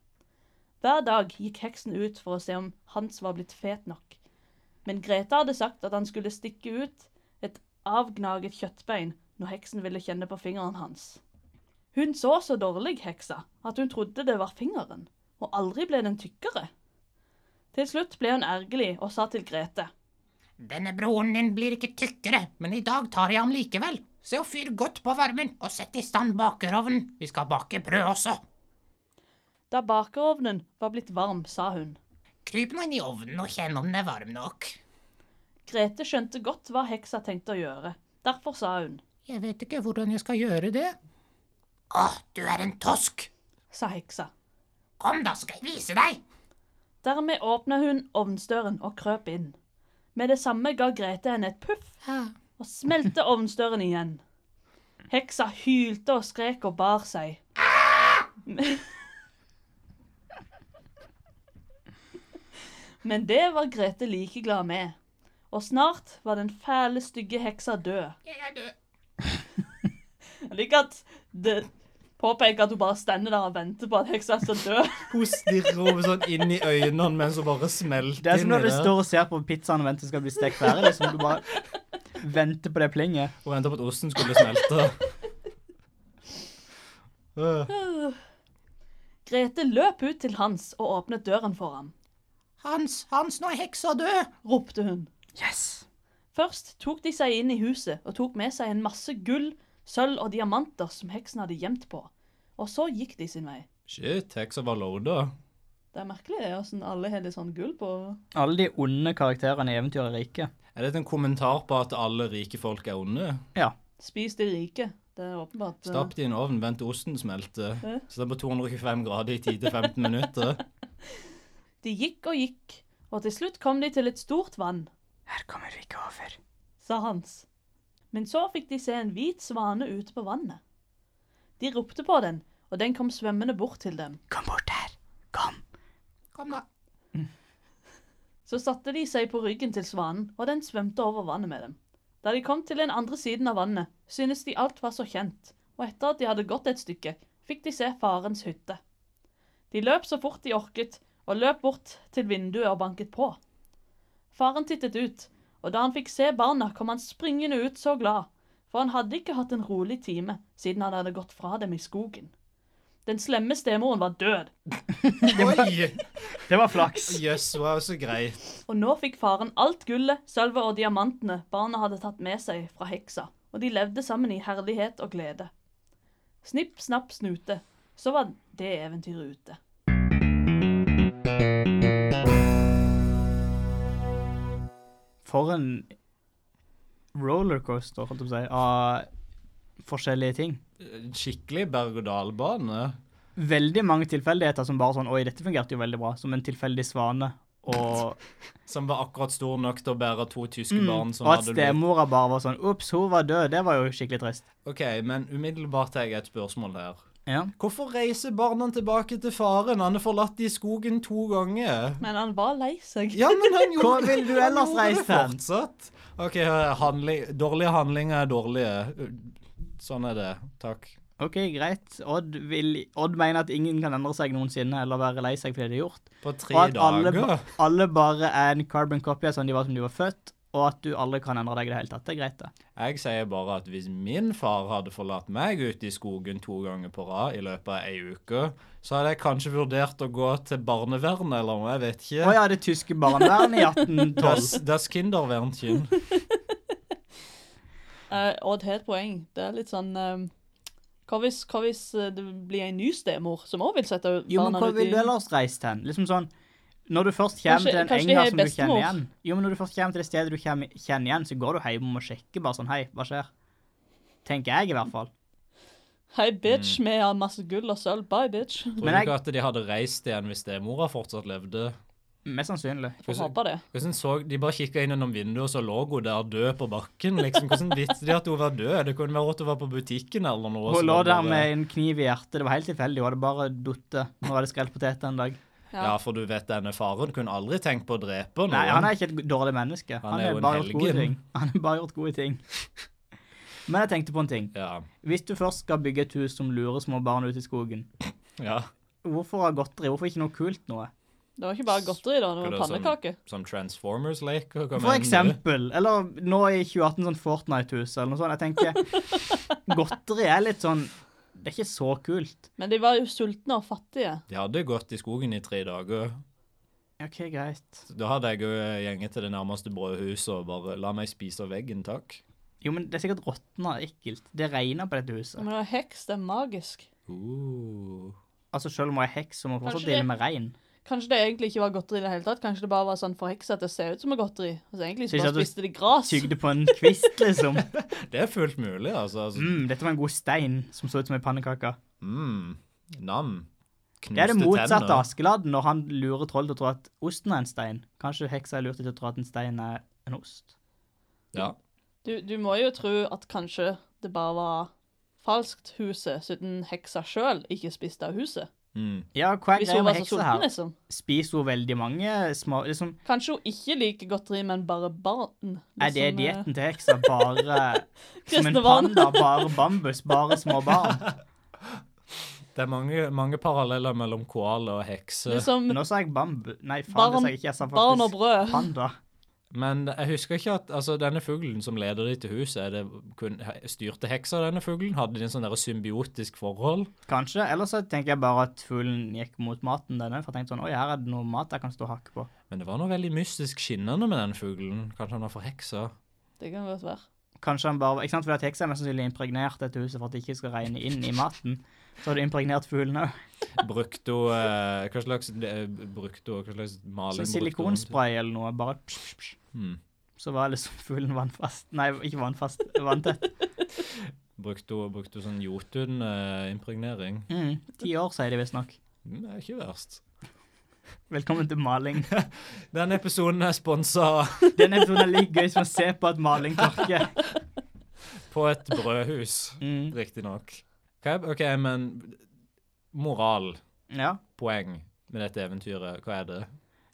Hver dag gikk heksen ut for å se om Hans var blitt fet nok. Men Grete hadde sagt at han skulle stikke ut et avgnaget kjøttbein når heksen ville kjenne på fingeren hans. Hun så så dårlig, heksa, at hun trodde det var fingeren, og aldri ble den tykkere. Til slutt ble hun ergerlig og sa til Grete.
Denne broren din blir ikke tykkere, men i dag tar jeg ham likevel. Se og fyr godt på varmen, og sett i stand bakerovnen. Vi skal bake brød også.
Da bakerovnen var blitt varm, sa hun.
Kryp nå inn i ovnen og kjenn om den er varm nok.
Grete skjønte godt hva heksa tenkte å gjøre. Derfor sa hun,
Jeg vet ikke hvordan jeg skal gjøre det. Å, du er en tosk.
sa heksa.
Kom da, skal jeg vise deg.
Dermed åpna hun ovnsdøren og krøp inn. Med det samme ga Grete henne et puff og smelte ovnsdøren igjen. Heksa hylte og skrek og bar seg. Men- Men det var Grete like glad med. Og snart var den fæle, stygge heksa død.
Jeg er død.
Jeg liker at det påpeker at hun bare stender der og venter på at heksa skal dø.
Hun stirrer over sånn inn i øynene mens hun bare smelter
Det er som
inn i
når du står og ser på pizzaen og venter skal bli stekt ferdig. Liksom. Du bare venter på det plinget.
Hun venta på at osten skulle smelte. Øh.
Grete løp ut til Hans og åpnet døren for ham,
Hans, Hans, nå er heksa død.
ropte hun.
Yes!
Først tok de seg inn i huset og tok med seg en masse gull, sølv og diamanter som heksen hadde gjemt på. Og så gikk de sin vei.
Shit, heksa var loada.
Det er merkelig det, åssen alle har litt sånn gull på
Alle de onde karakterene i eventyret er rike.
Er dette en kommentar på at alle rike folk er onde?
Ja.
Spis de rike. Det er åpenbart eh,
Stapp det i en ovn, vent til osten smelter.
Hæ?
Så det er på 225 grader i 10-15 minutter.
De gikk og gikk, og til slutt kom de til et stort vann,
Her kommer vi ikke over.
sa Hans. Men så fikk de se en hvit svane ute på vannet. De ropte på den, og den kom svømmende bort til dem.
Kom bort her. Kom.
Kom da.
Så satte de seg på ryggen til svanen, og den svømte over vannet med dem. Da de kom til den andre siden av vannet, syntes de alt var så kjent, og etter at de hadde gått et stykke, fikk de se farens hytte. De løp så fort de orket, og løp bort til vinduet og banket på. Faren tittet ut, og da han fikk se barna, kom han springende ut så glad, for han hadde ikke hatt en rolig time siden han hadde gått fra dem i skogen. Den slemme stemoren var død,
Oi!
Det var flaks.
Jøss, wow, så greit.
Og nå fikk faren alt gullet, sølvet og diamantene barna hadde tatt med seg fra heksa, og de levde sammen i herlighet og glede. Snipp, snapp, snute, så var det eventyret ute.
For en rollercoaster, holdt jeg på å si, av forskjellige ting.
En Skikkelig berg-og-dal-bane.
Veldig mange tilfeldigheter som bare sånn Oi, dette fungerte jo veldig bra. Som en tilfeldig svane og,
Som var akkurat stor nok til å bære to tyske barn som
Mm. og at
hadde lurt.
stemora bare var sånn Ops, hun var død. Det var jo skikkelig trist.
OK, men umiddelbart har jeg et spørsmål her.
Ja.
Hvorfor reiser barna tilbake til faren? Han har forlatt de i skogen to ganger.
Men han var lei seg.
Ja, men han gjorde
Hvor vil du
han
ellers
gjorde det
reise hen?
Fortsatt. OK, eh, handling, dårlige handlinger er dårlige. Sånn er det. Takk.
OK, greit. Odd, vil, Odd mener at ingen kan endre seg noensinne eller være lei seg for det de har gjort.
På
Og
tre
at alle,
dager.
ba- alle bare er en carbon copy av sånn de var som de var født, og at du aldri kan endre deg i det hele tatt. Det er greit, det.
Jeg sier bare at hvis min far hadde forlatt meg ute i skogen to ganger på rad i løpet av ei uke, så hadde jeg kanskje vurdert å gå til barnevernet eller noe, jeg vet
Å
ikke.
ja, det tyske barnevernet i 1812.
Das, das Kinderwernchen.
Eh, Odd har et poeng. Det er litt sånn eh, Hva hvis, hva hvis eh, det blir en ny stemor som òg vil sette
Jo, men
barna
hvor
ut i
vil du ellers reise til? Liksom sånn Når du først
Kanskje-
kommer til en
kanskje
eng
de
her
har
som du
bestemor?
kjenner igjen Jo, men når du først kommer til det stedet du kjem- kjenner igjen, så går du hjem og sjekker bare sånn Hei, hva skjer? Tenker jeg, i hvert fall.
Hei, bitch, vi har masse gull og sølv. Bye, bitch.
Tror
Men
du
jeg-
ikke at de hadde reist igjen hvis stemora fortsatt levde?
Mest sannsynlig.
Får håpe det.
Hvordan så, De bare kikka inn gjennom vinduet, og så lå hun der død på bakken. liksom. Hvordan visste de at hun var død? Det kunne være at hun var på butikken eller noe. så
Hun lå
var det
der
bare-
med en kniv i hjertet. Det var helt tilfeldig. Hun hadde bare datt. Hun hadde skrelt poteter en dag.
Ja.
Ja, for du vet denne faren kunne aldri tenkt på å drepe noen.
Nei, han er ikke et dårlig menneske. Han,
er jo
har
en
bare gjort gode
helgen.
ting. Han har bare gjort gode ting. Men jeg tenkte på en ting.
Ja,
Hvis du først skal bygge et hus som lurer små barn ut i skogen,
ja.
hvorfor ha godteri? Hvorfor ikke noe kult noe?
Det var ikke bare godteri, da. Det
Skulle
var
ha sånn-
pannekaker.
Som Transformers-leker. hva
For
mener du?
eksempel, eller nå i 2018 sånn Fortnite-hus eller noe sånt, jeg tenker godteri er litt sånn, det er ikke så kult.
Men de var jo sultne og fattige.
De hadde gått i skogen i tre dager.
Ok, greit.
Da hadde jeg jo gjenget til det nærmeste brødhuset og bare la meg spise av veggen, takk.
Jo, men det er sikkert råttene ekkelt. Det regner på dette huset.
Men å heks, det er magisk.
Uh.
Altså, selv om jeg er heks, så må jeg
Kanskje
fortsatt
det-
dele med regn.
Kanskje det egentlig ikke var godteri i det hele tatt. Kanskje det bare var sånn forheksa at det ser ut som er godteri. Altså egentlig så
Ikke
bare
at du
spiste de gras.
Tygde på en kvist, liksom.
Det er fullt mulig, altså. altså.
Mm, dette var en god stein som så ut som en pannekake.
Mm. Nam. Knuste
Det er det motsatte altså. av
tenner.
Askeladden når han lurer troll til å tro at osten er en stein. Kanskje heksa er lurt til å tro at en stein er en ost.
Ja.
Du, du må jo tro at kanskje det bare var falskt huset, siden heksa sjøl ikke spiste av huset.
Mm.
Ja, hva er
Hvis hun
greia
var
med
så
heksa
sulten,
her?
liksom.
Spiser hun veldig mange små liksom,
Kanskje hun ikke liker godteri, men bare barn.
Er det
Liksom, eh,
dietten til heksa bare som en
Kristne barn.
panda, bare bambus, bare små barn?
Det er mange, mange paralleller mellom koala og hekse.
Liksom
Nå sa jeg bambu... Nei, faen, det sa jeg ikke. Jeg sa
barn og
faktisk
brød.
panda.
Men jeg husker ikke at altså, denne fuglen som leder de til huset, er det kun, styrte heksa denne fuglen? Hadde de en sånn der symbiotisk forhold?
Kanskje. Eller så tenker jeg bare at fuglen gikk mot maten denne. For jeg tenkte sånn Oi, her er det noe mat jeg kan stå og hakke på.
Men det var noe veldig mystisk skinnende med den fuglen. Kanskje han var forheksa?
Det kan godt være.
Kanskje han bare Ikke sant, fordi at heksa er mest sannsynlig impregnert dette huset for at det ikke skal regne inn i maten. Så har du impregnert fuglen òg.
Brukte hun eh, hva slags eh, Brukte hun hva slags maling? brukte hun
Sånn
til-
silikonspray eller noe. Bare psh, psh, psh.
Hmm.
Så var liksom fuglen vannfast. Nei, ikke vannfast. Vanntett.
Brukte hun, brukte hun sånn Jotun-impregnering?
Mm, Ti år, sier de visstnok.
Mm, det er ikke verst.
Velkommen til maling.
Denne episoden er sponsa
Denne episoden er like gøy som å se på at maling tørker.
på et brødhus,
Mm.
riktignok. Ok, OK, men moral,
Ja.
poeng med dette eventyret, hva er det?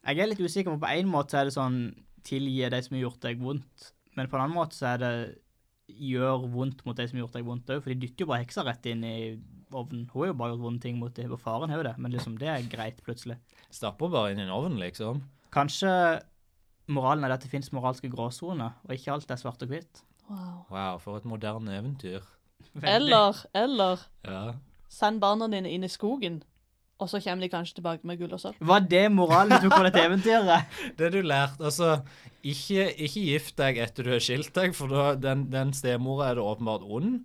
Jeg er litt usikker, for på en måte er det sånn tilgi de som har gjort deg vondt, men på en annen måte så er det gjør vondt mot de som har gjort deg vondt òg, for de dytter jo bare heksa rett inn i ovnen. Hun har jo bare gjort vonde ting mot dem, og faren har jo det, men liksom det er greit, plutselig.
Stapper bare inn i en ovn, liksom.
Kanskje moralen er at det fins moralske gråsoner, og ikke alt er svart og hvitt.
Wow.
Wow, for et moderne eventyr.
Veldig.
Eller, eller
Ja.
send barna dine inn i skogen, og så kommer de kanskje tilbake med gull og sølv.
Var det moralen du tok på dette eventyret?
Det du lærte, altså ikke, ikke gift deg etter du har skilt deg, for da, den, den stemora er det åpenbart ond.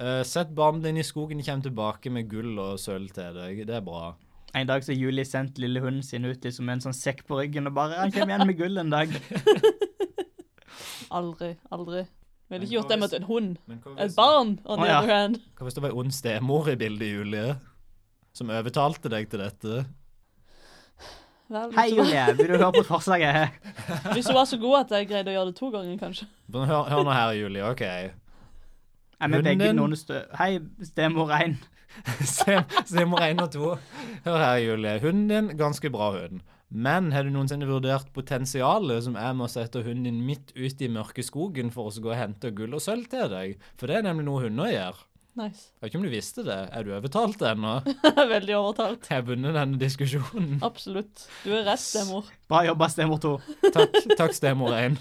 Eh, sett barnet ditt i skogen, kommer tilbake med gull og sølv til deg. Det er bra.
En dag så har Julie sendt lille hunden sin ut liksom, med en sånn sekk på ryggen og bare Han kommer igjen med gull en dag.
Aldri, aldri. Ville
Men
ikke gjort
hva
det mot en hund.
Men hva
Et barn, on
Å,
the
ja.
other hand.
Hva hvis det var ei ond stemor i bildet, Julie? Som overtalte deg til dette?
Vel,
Hei,
hvis du var-
Julie, vil du høre på forslaget?
Hvis du var så god at jeg greide å gjøre det to ganger, kanskje.
Men Hør, hør nå her, Julie. OK.
Er vi begge
Hunden.
noen stø... Hei, stemor rein.
Se- Stemor én og to. Hør her, Julie. Hunden din, ganske bra hund. Men har du noensinne vurdert potensialet som er med å sette hunden din midt ut i mørke skogen for å så gå og hente gull og sølv til deg? For det er nemlig noe hunder gjør.
Nice.
Jeg vet ikke om du visste det. Er du overtalt ennå?
Veldig overtalt.
Jeg har vunnet denne diskusjonen.
Absolutt. Du er rett, stemor.
Bra jobba, stemor to.
Takk, takk stemor 1,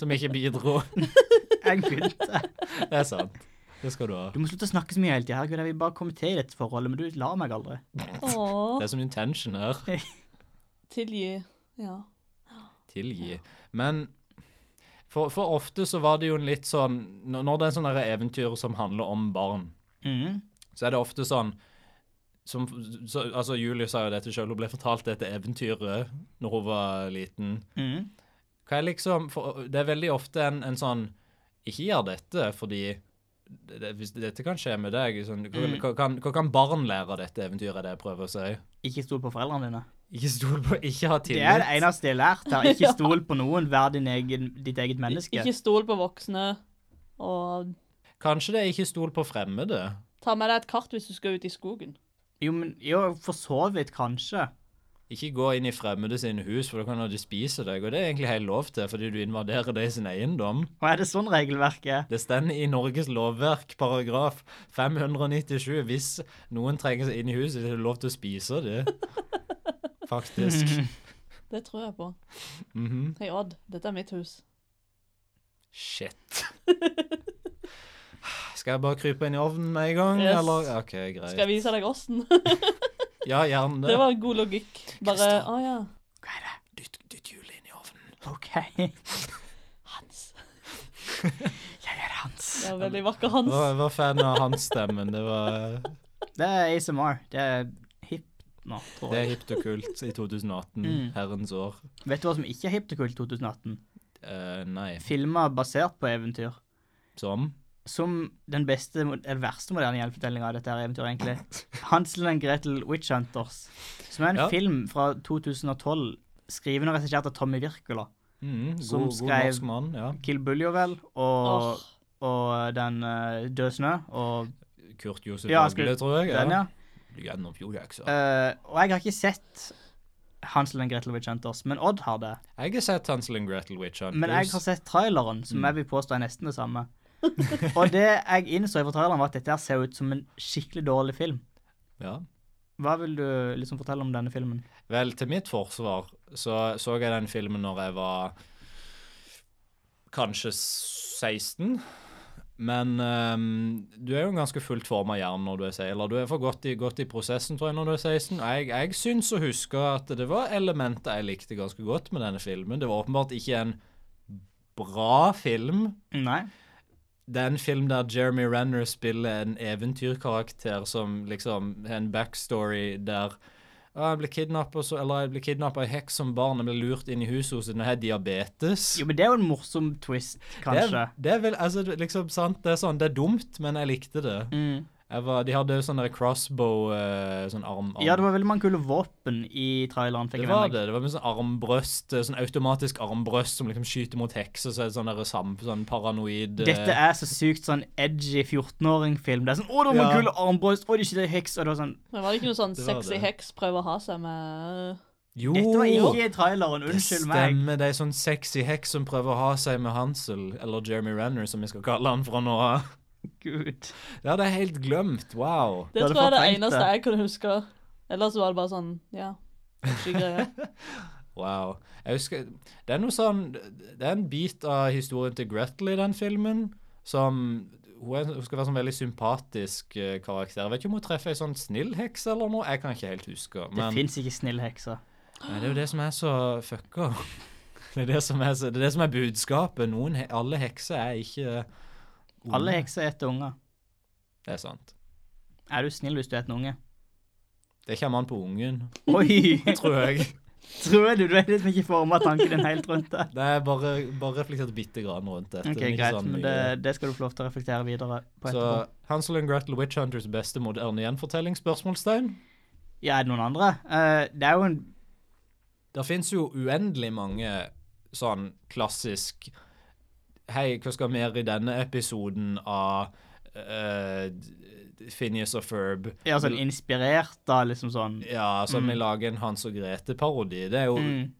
som ikke bidro.
Jeg begynte.
Det er sant. Det skal du ha.
Du må slutte å snakke så mye hele tida. Herregud, jeg vil bare komme til i dette forholdet, men du lar meg aldri.
Åh.
Det er som intention her.
Tilgi. Ja.
Tilgi. Men for, for ofte så var det jo en litt sånn Når når det er sånne der eventyr som handler om barn,
Mhm.
så er det ofte sånn som, så, altså Julie sa jo dette sjøl, hun ble fortalt dette eventyret når hun var liten.
Mhm.
Hva er liksom, for, det er veldig ofte en, en sånn Ikke gjør dette, fordi det, det- hvis dette kan skje med deg sånn, hva,
Mm.
hva, kan, hva kan barn lære av dette eventyret, er det jeg prøver å si?
Ikke stol på foreldrene dine.
Ikke stol på, ikke ha
Det
tillit.
er det eneste jeg har lært. her. Ikke stol på noen, vær din egen, ditt eget menneske.
Ikke stol på voksne, og
Kanskje det er ikke stol på fremmede.
ta med deg et kart hvis du skal ut i skogen.
Jo, men jo, for så vidt, kanskje.
Ikke gå inn i fremmede sine hus, for da kan de spise deg. Og det er egentlig helt lov til, fordi du invaderer det i sin eiendom.
Og er det sånn regelverket er?
Det stender i Norges lovverk, paragraf 597, hvis noen trenger seg inn i huset, er det lov til å spise det. Faktisk.
Det tror jeg på.
Mhm.
Hei, Odd. Dette er mitt hus.
Shit. Skal jeg bare krype inn i ovnen med en gang,
Yes.
eller? OK, greit.
Skal jeg vise deg åssen?
Ja, gjerne
Det var god logikk. Bare
Kristian.
Å ja.
Dytt, dytt hjulet inn i ovnen.
OK.
Hans.
Jeg er hans.
Ja, veldig vakker Hans.
Jeg var fan av hans stemmen. Det var
Det er ASMR. Det er hipt nå, tror
Det er
jeg.
hipt og kult i 2018.
Mm.
Herrens år.
Vet du hva som ikke er hipt og kult i 2018?
Eh, nei.
Filmer basert på eventyr.
Som
Som den beste, eller verste moderne gjenfortellinga av dette her eventyret, egentlig. Hansel and Gretel Witch Hunters. Som er en
Ja.
film fra 2012, skrevet og regissert av Tommy Wirkola.
mm,
Som
god,
skrev-
god norsk mann. Ja.
Kill Bill, jo vel, og,
Åh,
og den uh, Død snø, og
Kurt Josef ja,
Ja, jeg skulle-
tror jeg.
den, ja.
Gjennom Fjordjaksa.
Eh, og jeg har ikke sett Hansel and Gretel Witch Hunters, men Odd har det.
Jeg har sett Hansel and Gretel Witch Hunters.
Men jeg har sett traileren, som
Mm.
jeg vil påstå er nesten det samme. og det jeg innså fra traileren, var at dette her ser ut som en skikkelig dårlig film.
ja.
Hva vil du liksom fortelle om denne filmen?
Vel, til mitt forsvar så så jeg den filmen når jeg var kanskje 16. Men ehm, du er jo en ganske fullt forma hjerne når du er 16, eller du er for godt i, godt i prosessen tror jeg når du er 16. Og jeg, jeg syns å huske at det var elementer jeg likte ganske godt med denne filmen. Det var åpenbart ikke en bra film.
Nei.
Det er en film der Jeremy Renner spiller en eventyrkarakter som liksom har en backstory der «Å, jeg ble kidnappet, så, eller jeg ble kidnappet av en heks som barn, jeg ble lurt inn i huset hos henne, jeg har diabetes.
Jo, men det er jo en morsom twist,
det,
kanskje.
er, det er vel, altså, det- liksom, sant, det er sånn, det er dumt, men jeg likte det.
Mm.
Jeg var, de hadde jo sånn der crossbow, eh, sånn arm, arm.
Ja, det var veldig mange kule våpen i traileren. fikk
Det
jeg
var
med meg.
det. Det var med sånn armbrøst, eh, sånn automatisk armbrøst som liksom skyter mot hekser, så er det sånn der sam, sånn paranoid. eh,
Dette er så sykt sånn edgy 14-åring-film. Det er sånn 'Å, det var
Ja.
mange kule armbrøst! Å, de skyter heks!' Og det var sånn
Men var det ikke noe sånn
Det var
sexy
det.
heks prøver å ha seg med
Jo!
Dette var ikke i traileren. Unnskyld
Oh, det
meg.
stemmer. Det er ei sånn sexy heks som prøver å ha seg med Hansel, eller Jeremy Renner, som vi skal kalle han fra nå av.
Gud.
Det hadde jeg helt glemt. Wow.
Det
Da
tror jeg
hadde
er det
fortrengt
eneste
det.
jeg kunne huske. Ellers var det bare sånn, ja. Ikke greie.
Wow. Jeg husker Det er noe sånn Det er en bit av historien til Gretel i den filmen som hun, er, hun skal være sånn veldig sympatisk eh, karakter. Jeg vet ikke om hun treffer ei sånn snill heks eller noe. Jeg kan ikke helt huske.
Det
Men
fins ikke snille hekser.
Nei, det er jo det som er så fucka. Det er det som er, så, det er, det som er budskapet. Noen, he- alle hekser er ikke onde.
Alle hekser eter unger.
Det er sant.
Er du snill hvis du eter en unge?
Det kommer an på ungen,
Oi!
tror jeg.
Tror du du er liksom ikke forma tanken din helt rundt det?
Det er bare, bare reflektert bitte grann rundt dette.
Ok,
men ikke
Greit,
sånn
men
mye.
det, det skal du få lov til å reflektere videre på
Så
etterpå.
Hansel and Gretel Witch Hunters beste moderne gjenfortelling? Spørsmålstegn?
Ja, er det noen andre? Eh, det er jo en
Det fins jo uendelig mange sånn klassisk Hei, hva skal mer i denne episoden av uh, Phineas og Ferb?
Ja, sånn inspirert, da, liksom sånn.
Ja, som vi lager en Hans og Grete-parodi. Det er jo
Mm.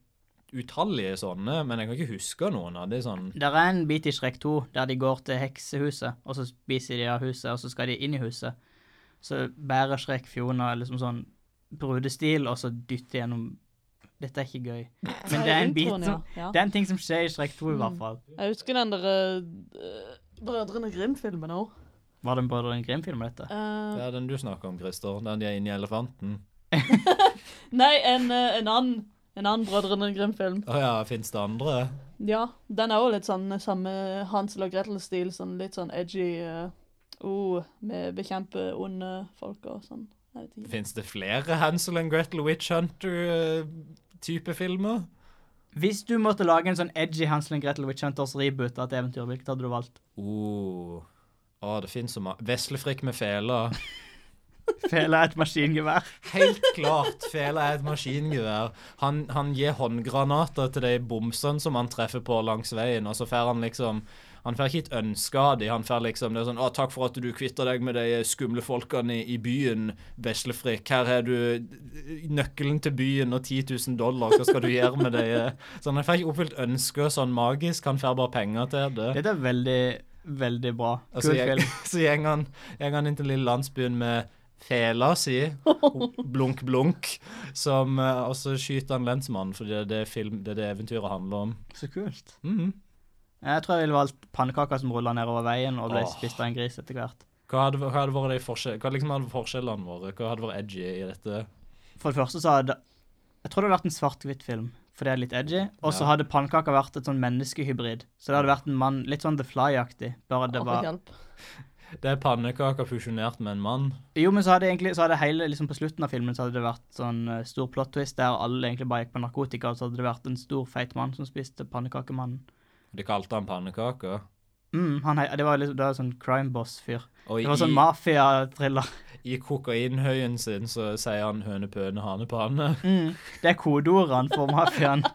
utallige sånne, men jeg kan ikke huske noen av de sånn
Der er en bit i Shrek 2 der de går til heksehuset, og så spiser de av huset, og så skal de inn i huset. Så bærer Shrek Fiona liksom sånn brudestil, og så dytter gjennom Dette er ikke gøy. Men det er en bit
Introen,
som
ja. Mm.
Det er en ting som skjer i Shrek 2, i hvert fall.
Jeg husker den der eh, Brødrene Grim-filmen òg.
Var det en Brødrene Grim-film, dette?
Eh,
Det er den du snakker om, Christer. Den de er inni elefanten.
nei, en, eh, en annen. En annen Brødrene Grim-film.
Å ja, fins det andre?
Ja, den er òg litt sånn samme Hansel og Gretel-stil. Sånn litt sånn edgy eh, oh, Vi bekjemper onde folk og sånn. Jeg vet ikke.
Fins det flere Hansel and Gretel Witch Hunter-type filmer?
Hvis du måtte lage en sånn edgy Hansel og Gretel Witch Hunters reboot av et eventyr, hvilket hadde du valgt?
Oh. Å, det fins så mange Veslefrikk med fela.
Fela et maskingevær.
Helt klart. Fela er et maskingevær. Han, han gir håndgranater til de bomsene som han treffer på langs veien, og så får han liksom Han får ikke et ønske av de, han får liksom det er sånn 'Å, takk for at du kvitter deg med de skumle folkene i, i byen, veslefrikk. Her har du nøkkelen til byen og 10 000 dollar. Hva skal du gjøre med de Sånn, han får ikke oppfylt ønsket sånn magisk, han får bare penger til det.
Dette er veldig, veldig bra.
Og
Kul
så gjeng-
film.
Altså, så gjeng han, gjeng han inn til lille landsbyen med fela si, blunk, blunk, som, eh, og så skyter han lensmannen, fordi det er det, film, det, er det eventyret handler om.
Så kult.
Mhm.
Jeg tror jeg ville valgt pannekaker som rulla nedover veien og ble
Åh.
spist av en gris etter hvert.
Hva hadde, hva hadde vært de forskjell, hva liksom hadde forskjellene våre? Hva hadde vært edgy i dette?
For det første så hadde Jeg tror det hadde vært en svart-hvitt film, for det er litt edgy. Og så
Ja.
hadde pannekaker vært et sånn menneskehybrid. Så det hadde vært en mann litt sånn The Fly-aktig. Bare det
Å,
var
hjelp.
Det er pannekaker fusjonert med en mann.
Jo, men så hadde egentlig, så hadde hele, liksom på slutten av filmen så hadde det vært sånn eh, stor plot twist der alle egentlig bare gikk på narkotika, og så hadde det vært en stor, feit mann som spiste pannekakemannen.
De kalte han pannekaker.
Mm, han, hei- det var liksom, det var sånn crime boss-fyr.
Og
Det var sånn
i,
mafia-thriller.
i kokainhøyen sin så sier han høne pøne, hane panne.
Mm, det er kodeordene for mafiaen.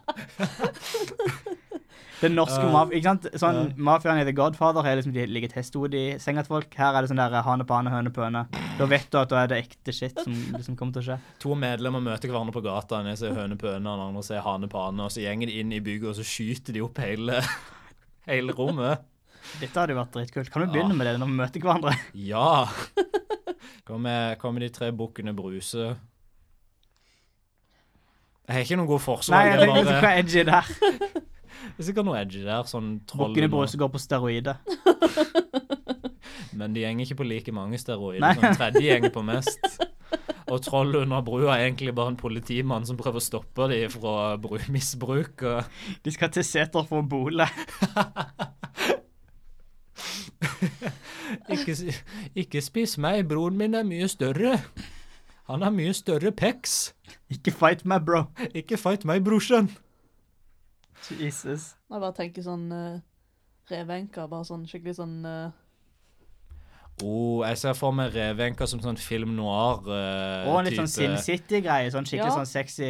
Den norske
Eh, Ja.
mafiaen, ikke sant? Sånn, Mafiaen i The Godfather har liksom de ligget hestehode i senga til folk. Her er det sånn der eh, hane på hane, høne på høne. Da vet du at da er det ekte shit som liksom kommer til å skje.
To medlemmer møter hverandre på gata, den ene sier høne pøne, den andre sier hane panne, og så gjenger de inn i bygget, og så skyter de opp hele, hele rommet.
Dette hadde jo vært dritkult. Kan vi begynne med det når vi møter hverandre?
Ja! Kommer kommer de tre bukkene Bruse? Jeg har ikke noen gode
Nei,
forslag.
jeg
det er
vet ikke hva
bare-
edgy det er.
Det er sikkert noe edgy der, sånn troll
Bukkene Bruse går på steroider.
Men de gjenger ikke på like mange steroider.
Nei.
Sånn tredje gjenger på mest. Og troll under brua er egentlig bare en politimann som prøver å stoppe dem fra bru- misbruk. Og
De skal til seter for å bole.
ikke, s- ikke spis meg, broren min er mye større. Han har mye større peks.
Ikke fight meg, bro.
Ikke fight meg, brorsan.
Jesus.
Jeg bare tenker sånn uh, revenka, bare sånn skikkelig sånn eh,
Oh, jeg ser for meg Revenka som sånn film eh, noir-type.
Og en litt sånn Sin City-greie. Sånn skikkelig
Ja.
sånn sexy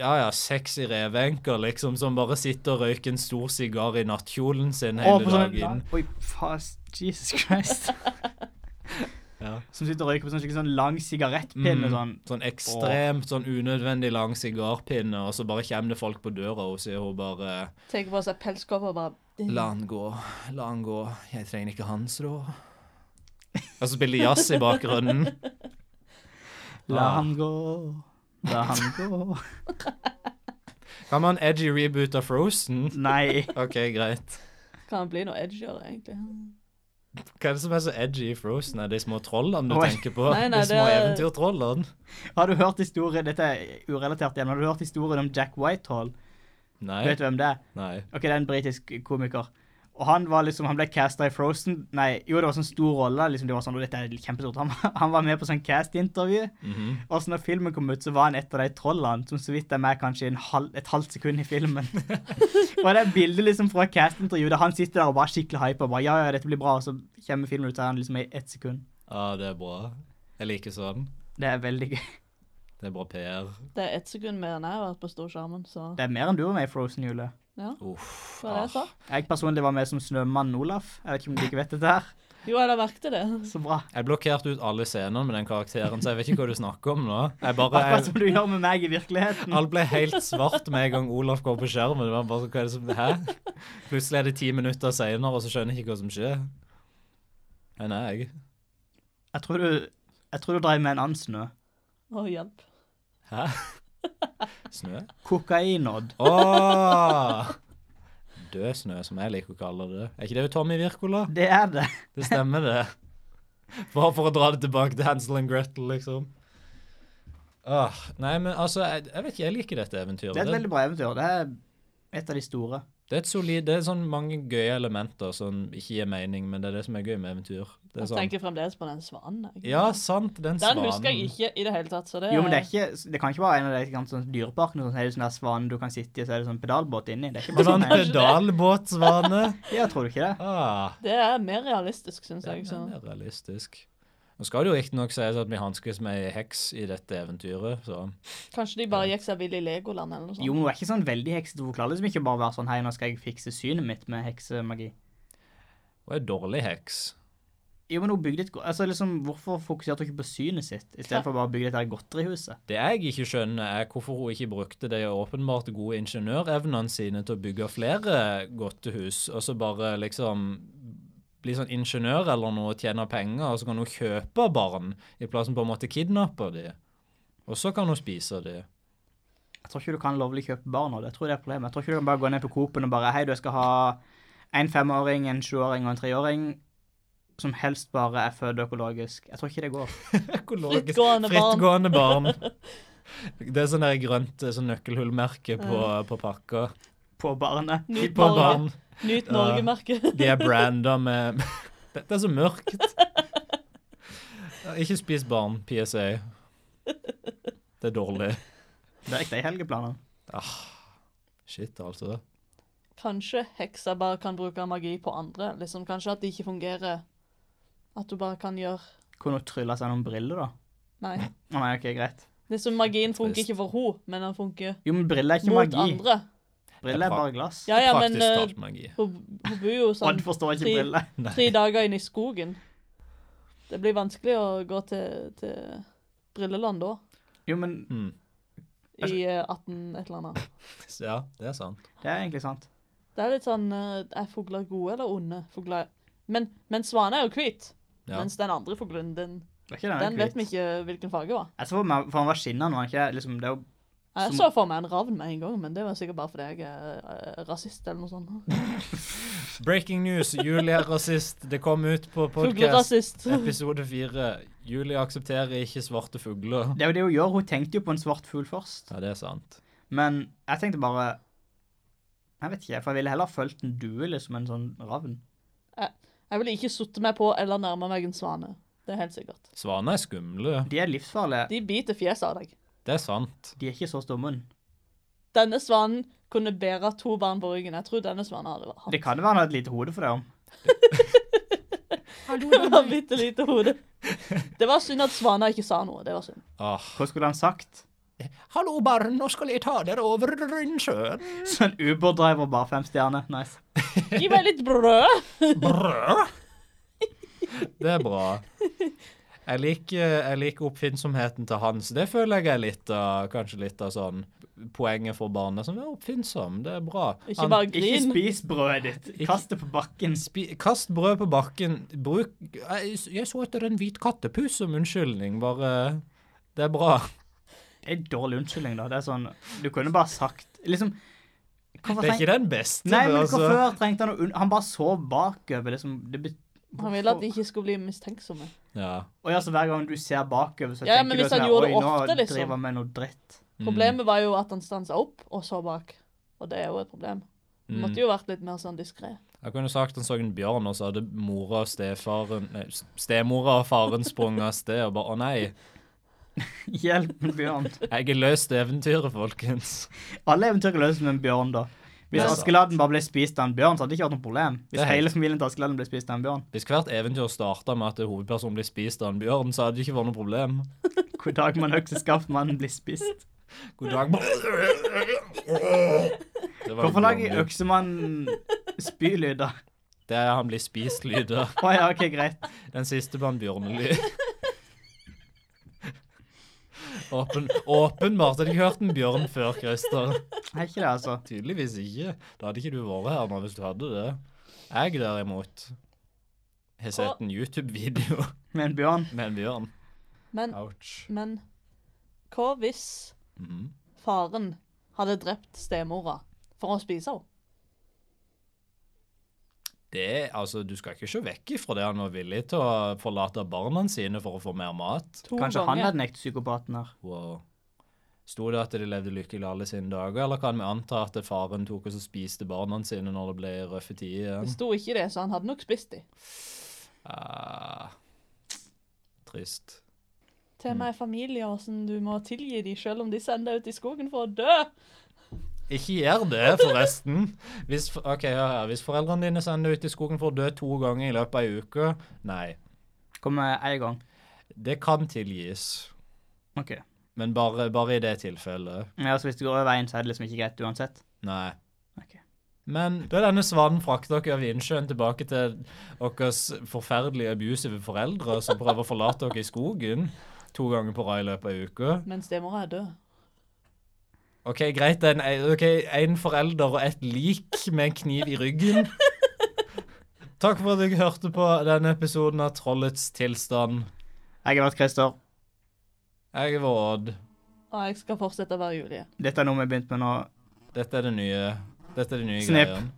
Ja, ja, sexy revenker, liksom, som bare sitter og røyker en stor sigar i nattkjolen sin
Å,
hele
på sånn
dagen.
Oi, fast. Jesus Christ.
Ja.
Som sitter og røyker på sånn skikkelig sånn lang sigarettpinne.
Mm.
Sånn.
Sånn ekstremt sånn unødvendig lang sigarpinne, og så bare kommer det folk på døra, og så sier hun bare
Tar på seg pelskåpa og bare
La han gå, la han gå, jeg trenger ikke hans råd. Og så spiller de jazz i bakgrunnen.
La
Ah.
han gå. La han gå.
Kan man edgy reboot av Frozen?
Nei.
OK, greit.
Kan han bli noe edgyere, egentlig?
Hva er det som er så edgy i Frozen? Er det de små trollene du
Oi.
tenker på?
Nei, nei,
de små
det er-
eventyrtrollene?
Har du hørt historien Dette er urelatert igjen. Har du hørt historien om Jack Whitehall?
Nei.
Vet du hvem det er?
nei.
Ok, det er en britisk komiker. Og han var liksom, han ble casta i Frozen. Nei, jo, det var sånn stor rolle. liksom, det var sånn, og dette er kjempestort. Han, han var med på sånn cast-intervju.
Mhm.
Og så når filmen kom ut, så var han et av de trollene som så vidt er med kanskje en halv, et halvt sekund i filmen. og det er bildet liksom fra cast-intervjuet der han sitter der og bare er skikkelig hyper. og Bare, ja, ja, dette blir bra, og så kommer filmen ut av han liksom i ett sekund.
Ja, det er bra. Jeg liker sånn.
Det er veldig gøy.
Det er bra PR.
Det er ett sekund mer enn jeg har vært på storskjermen, så
Det er mer enn du var med i Frozen, Jule.
ja.
Uff. Ah.
Hva er det jeg sa?
Jeg personlig var med som snømann Olaf. Jeg vet ikke om du ikke vet dette her.
Jo, jeg la merke til det.
Så bra.
Jeg blokkerte ut alle scenene med den karakteren, så jeg vet ikke hva du snakker om nå. Jeg bare,
Akkurat som
jeg,
du gjør med meg i virkeligheten.
Alt ble helt svart med en gang Olaf går på skjermen. Det var bare, hva er det som, hæ? Plutselig er det ti minutter senere, og så skjønner jeg ikke hva som skjer. Nei, nei, jeg.
Jeg tror du, jeg tror du dreiv med en annen snø.
Å, hjelp.
Hæ? Snø?
Kokainodd.
Åh! Død snø, som jeg liker å kalle det. Er ikke det jo Tommy Wirkola?
Det er det.
Det stemmer, det. Bare for å dra det tilbake til Hansel and Gretel, liksom. Åh, nei, men altså, jeg, jeg vet ikke, jeg liker dette eventyret.
Det er et veldig bra eventyr. Det er et av de store.
Det er et solid, det er sånn mange gøye elementer som ikke gir mening, men det er det som er gøy med eventyr. Det er
Jeg
sånn,
tenker fremdeles på den svanen. jeg.
ja, sant, den
Den
svanen.
husker jeg ikke i det hele tatt, så det
Jo, men det, er ikke, det kan ikke være en av de ganske sånn dyreparkene. Sånn, så er det sånn der svane du kan sitte i, så er det sånn pedalbåt inni. Det er ikke
Det
bare
var
sånn
en
her.
pedalbåtsvane.
Ja, tror du ikke det?
Ah,
det er mer realistisk, syns
den
jeg. Så.
er mer realistisk. Nå skal det jo ikke nok sies at vi hanskes med ei heks i dette eventyret, så...
Kanskje de bare gikk seg vill i Legoland eller noe sånt.
Jo, men hun er ikke sånn veldig heksete. Hun klarer liksom ikke bare å være sånn Hei, nå skal jeg fikse synet mitt med heksemagi.
Hun er en dårlig heks.
Jo, men hun bygde et go- Altså, liksom, Hvorfor fokuserte hun ikke på synet sitt,
Ja.
istedenfor bare å bygge dette godterihuset?
Det jeg ikke skjønner, er hvorfor hun ikke brukte de åpenbart gode ingeniørevnene sine til å bygge flere godtehus, og så bare liksom bli sånn ingeniør eller noe, tjene penger, og så kan hun kjøpe barn, i plassen på en måte kidnappe de. Og så kan hun spise de.
Jeg tror ikke du kan lovlig kjøpe barn nå. Det tror jeg er problemet. Jeg tror ikke du kan bare gå ned på Coop-en og bare Hei, du jeg skal ha en femåring, en sjuåring og en treåring som helst bare er født økologisk. Jeg tror ikke det går.
Økologisk
Frittgående barn.
frittgående barn. Det er sånn der grønt eh, sånn nøkkelhullmerke på, på pakka.
På barnet.
Nyt
På
Norge.
barn.
Nyt
Ja.
Norge-merket.
De er branda med Dette er så mørkt. Ikke spis barn, PSA. Det er dårlig.
Det er ikke de helgeplanene.
Shit, altså.
Kanskje heksa bare kan bruke magi på andre. Liksom, kanskje at det ikke fungerer. At du bare kan gjøre
Kunne hun trylla seg noen briller, da?
Nei.
Å nei, OK, greit.
Liksom, magien funker
Trist.
ikke for henne, men den funker
Jo, men briller er ikke
mot
magi.
andre.
Briller er bare glass.
Ja, ja, men
Praktisk
eh,
talt magi.
hun, hun bor jo
Og
sånn
du forstår ikke
Fri-
briller.
tre dager inne i skogen. Det blir vanskelig å gå til, til Brilleland da,
Jo, men
Hmm.
i eh, 18 et eller annet.
Ja, det er sant.
det er egentlig sant.
Det er litt sånn eh, Er fugler gode eller onde? Fugler Men, men svanen er jo hvit.
Ja.
Mens den andre fuglen, den,
Det er ikke den,
den vet vi ikke hvilken farge var.
Jeg så for meg for han var skinnende, var han ikke det? liksom, det er jo,
Jeg
Som-
så for meg en ravn med en gang, men det var sikkert bare fordi jeg er eh, rasist eller noe sånt.
Breaking news. Julie er rasist. Det kom ut på podcast
Fuglerasist.
episode fire. Julie aksepterer ikke svarte fugler.
det er jo det hun gjør. Hun tenkte jo på en svart fugl først.
Ja, det er sant.
Men jeg tenkte bare Jeg vet ikke, for jeg ville heller fulgt en due, liksom, en sånn ravn.
Jeg ville ikke sittet meg på eller nærma meg en svane. Det er helt sikkert.
Svaner er skumle.
De er livsfarlige.
De biter fjeset av deg.
Det er sant.
De er ikke så stumme.
Denne svanen kunne bære to barn på ryggen. Jeg tror denne svanen hadde vært
Det kan jo være han har et lite hode for det om.
Hallo,
Det var
damer.
bitte lite hode. Det var synd at svaner ikke sa noe. Det var synd.
Ah.
Hva skulle han sagt?
Hallo, barn. Nå skal jeg ta dere over Rønnsjøen.
Sånn Uber-driver, bare fem stjerner. Nice.
Gi meg litt brød!
Brød? Det er bra. Jeg liker, jeg liker oppfinnsomheten til Hans. Det føler jeg er litt av, kanskje litt av sånn poenget for barnet. Sånn, vær oppfinnsom, det er bra.
Ikke
Han-
bare
Ikke
grin.
spis brødet ditt. Kast det på bakken.
Spi, kast brød på bakken. Bruk Jeg, jeg så etter en hvit kattepus som unnskyldning. Bare Det er bra.
Det er en dårlig unnskyldning, da. Det er sånn Du kunne bare sagt Liksom
Det
hvorfor
er
treng-
ikke den beste.
Nei,
men
men
altså.
hvorfor trengte han å unn... Han bare sov bakover, liksom. Det bet...
Han ville at de ikke skulle bli mistenksomme.
Ja.
Og ja, så hver gang du ser bakover, så
Ja, ja, men
tenker du
hvis
sånn
han
her,
gjorde
Oi,
det
nå
ofte, liksom."
driver han med noe dritt.
Problemet var jo at han stansa opp og så bak. Og det er jo et problem. Det
Mm.
måtte jo vært litt mer sånn diskré.
Jeg kunne sagt han så en bjørn, og så hadde mora og stefaren nei, Stemora og faren sprunget av sted og bare Å, nei.
Hjelp en bjørn.
Jeg har løst eventyret, folkens.
Alle eventyr kan løses med en bjørn, da.
Det
Hvis
er
Askeladden bare ble spist av en bjørn, så hadde det ikke vært noe problem.
Det
Hvis
er
hele
helt-
familien til Askeladden ble spist av en bjørn.
Hvis hvert eventyr starta med at hovedpersonen blir spist av en bjørn, så hadde det ikke vært noe problem.
Hvor dag man økseskaft mannen blir spist.
God dag. Det var
Hvorfor
en
lager
lang-
øksemannen spylyder?
Det er han blir spist-lyder.
Å ja, OK, greit.
Den siste blant bjørnelyd. Åpen, åpenbart hadde jeg hørt en bjørn før, Christer.
Er ikke det, altså?
Tydeligvis ikke. Da hadde ikke du vært her nå hvis du hadde det. Jeg derimot har sett en YouTube-video
Med en bjørn?
med en bjørn.
Men,
Ouch.
men hva hvis
Mm.
Mhm.
faren hadde drept stemora for å spise henne?
Det, altså, du skal ikke se vekk ifra det han var villig til å forlate barna sine for å få mer mat.
To
Kanskje han
ganger.
er den ekte psykopaten her.
Wow. Sto det at de levde lykkelig alle sine dager, eller kan vi anta at faren tok og så spiste barna sine når det ble røffe tider
Det
igjen?
sto ikke det, så han hadde nok spist dem.
Ah, trist.
Temaet er familie og hvordan du må tilgi dem selv om de sender deg ut i skogen for å dø.
Ikke gjør det, forresten. Hvis, f- ok, hør her. Hvis foreldrene dine sender deg ut i skogen for å dø to ganger i løpet av ei uke, nei,
Kommer én gang.
det kan tilgis.
OK.
Men bare, bare i det tilfellet.
Ja, så hvis det går over veien, så er det liksom ikke greit uansett?
Nei.
Ok.
Men da denne svanen frakter dere over innsjøen tilbake til deres forferdelige abusive foreldre som prøver å forlate dere i skogen to ganger på rad i løpet av uka
Men stemora er død.
OK, greit, det er en, ok, en forelder og et lik med en kniv i ryggen. Takk for at dere hørte på denne episoden av Trollets tilstand.
Jeg har vært Christer.
Jeg var Odd.
Og jeg skal fortsette å være Julie.
Dette er noe vi har begynt med nå.
Dette er det nye. Dette er det nye
Snip.
greien.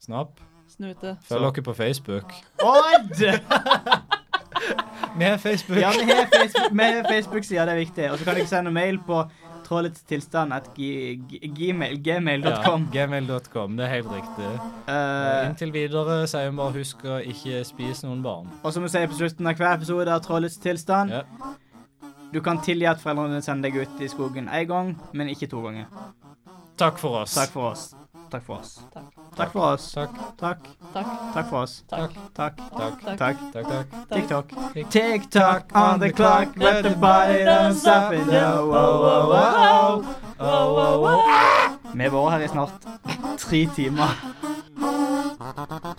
Snapp.
Snute.
Følg dere på Facebook.
Odd!
Vi har Facebook.
Ja, vi har Facebook- vi har Facebook-sida, det er viktig. Og så kan dere sende mail på trolletstilstand.gmail.com.
Ja, gmail.com. Det er helt riktig.
Uh,
Eh, Inntil videre sier vi bare husk å ikke spise noen barn.
og som vi sier på slutten av hver episode av Trollets tilstand,
Ja.
du kan tilgi at foreldrene dine sender deg ut i skogen én gang, men ikke to ganger.
Takk for oss.
Takk for oss. Takk for oss.
Takk.
Takk for oss.
Takk.
Takk.
Takk.
Takk for oss.
Ah. Takk.
Takk.
Takk.
Takk.
Takk.
Takk, takk.
TikTok.
Tick-
TikTok on the clock, let the body don't stop it. Oh, oh, oh, oh, oh.
Oh, oh, oh.
Vi har vært her i snart tre timer.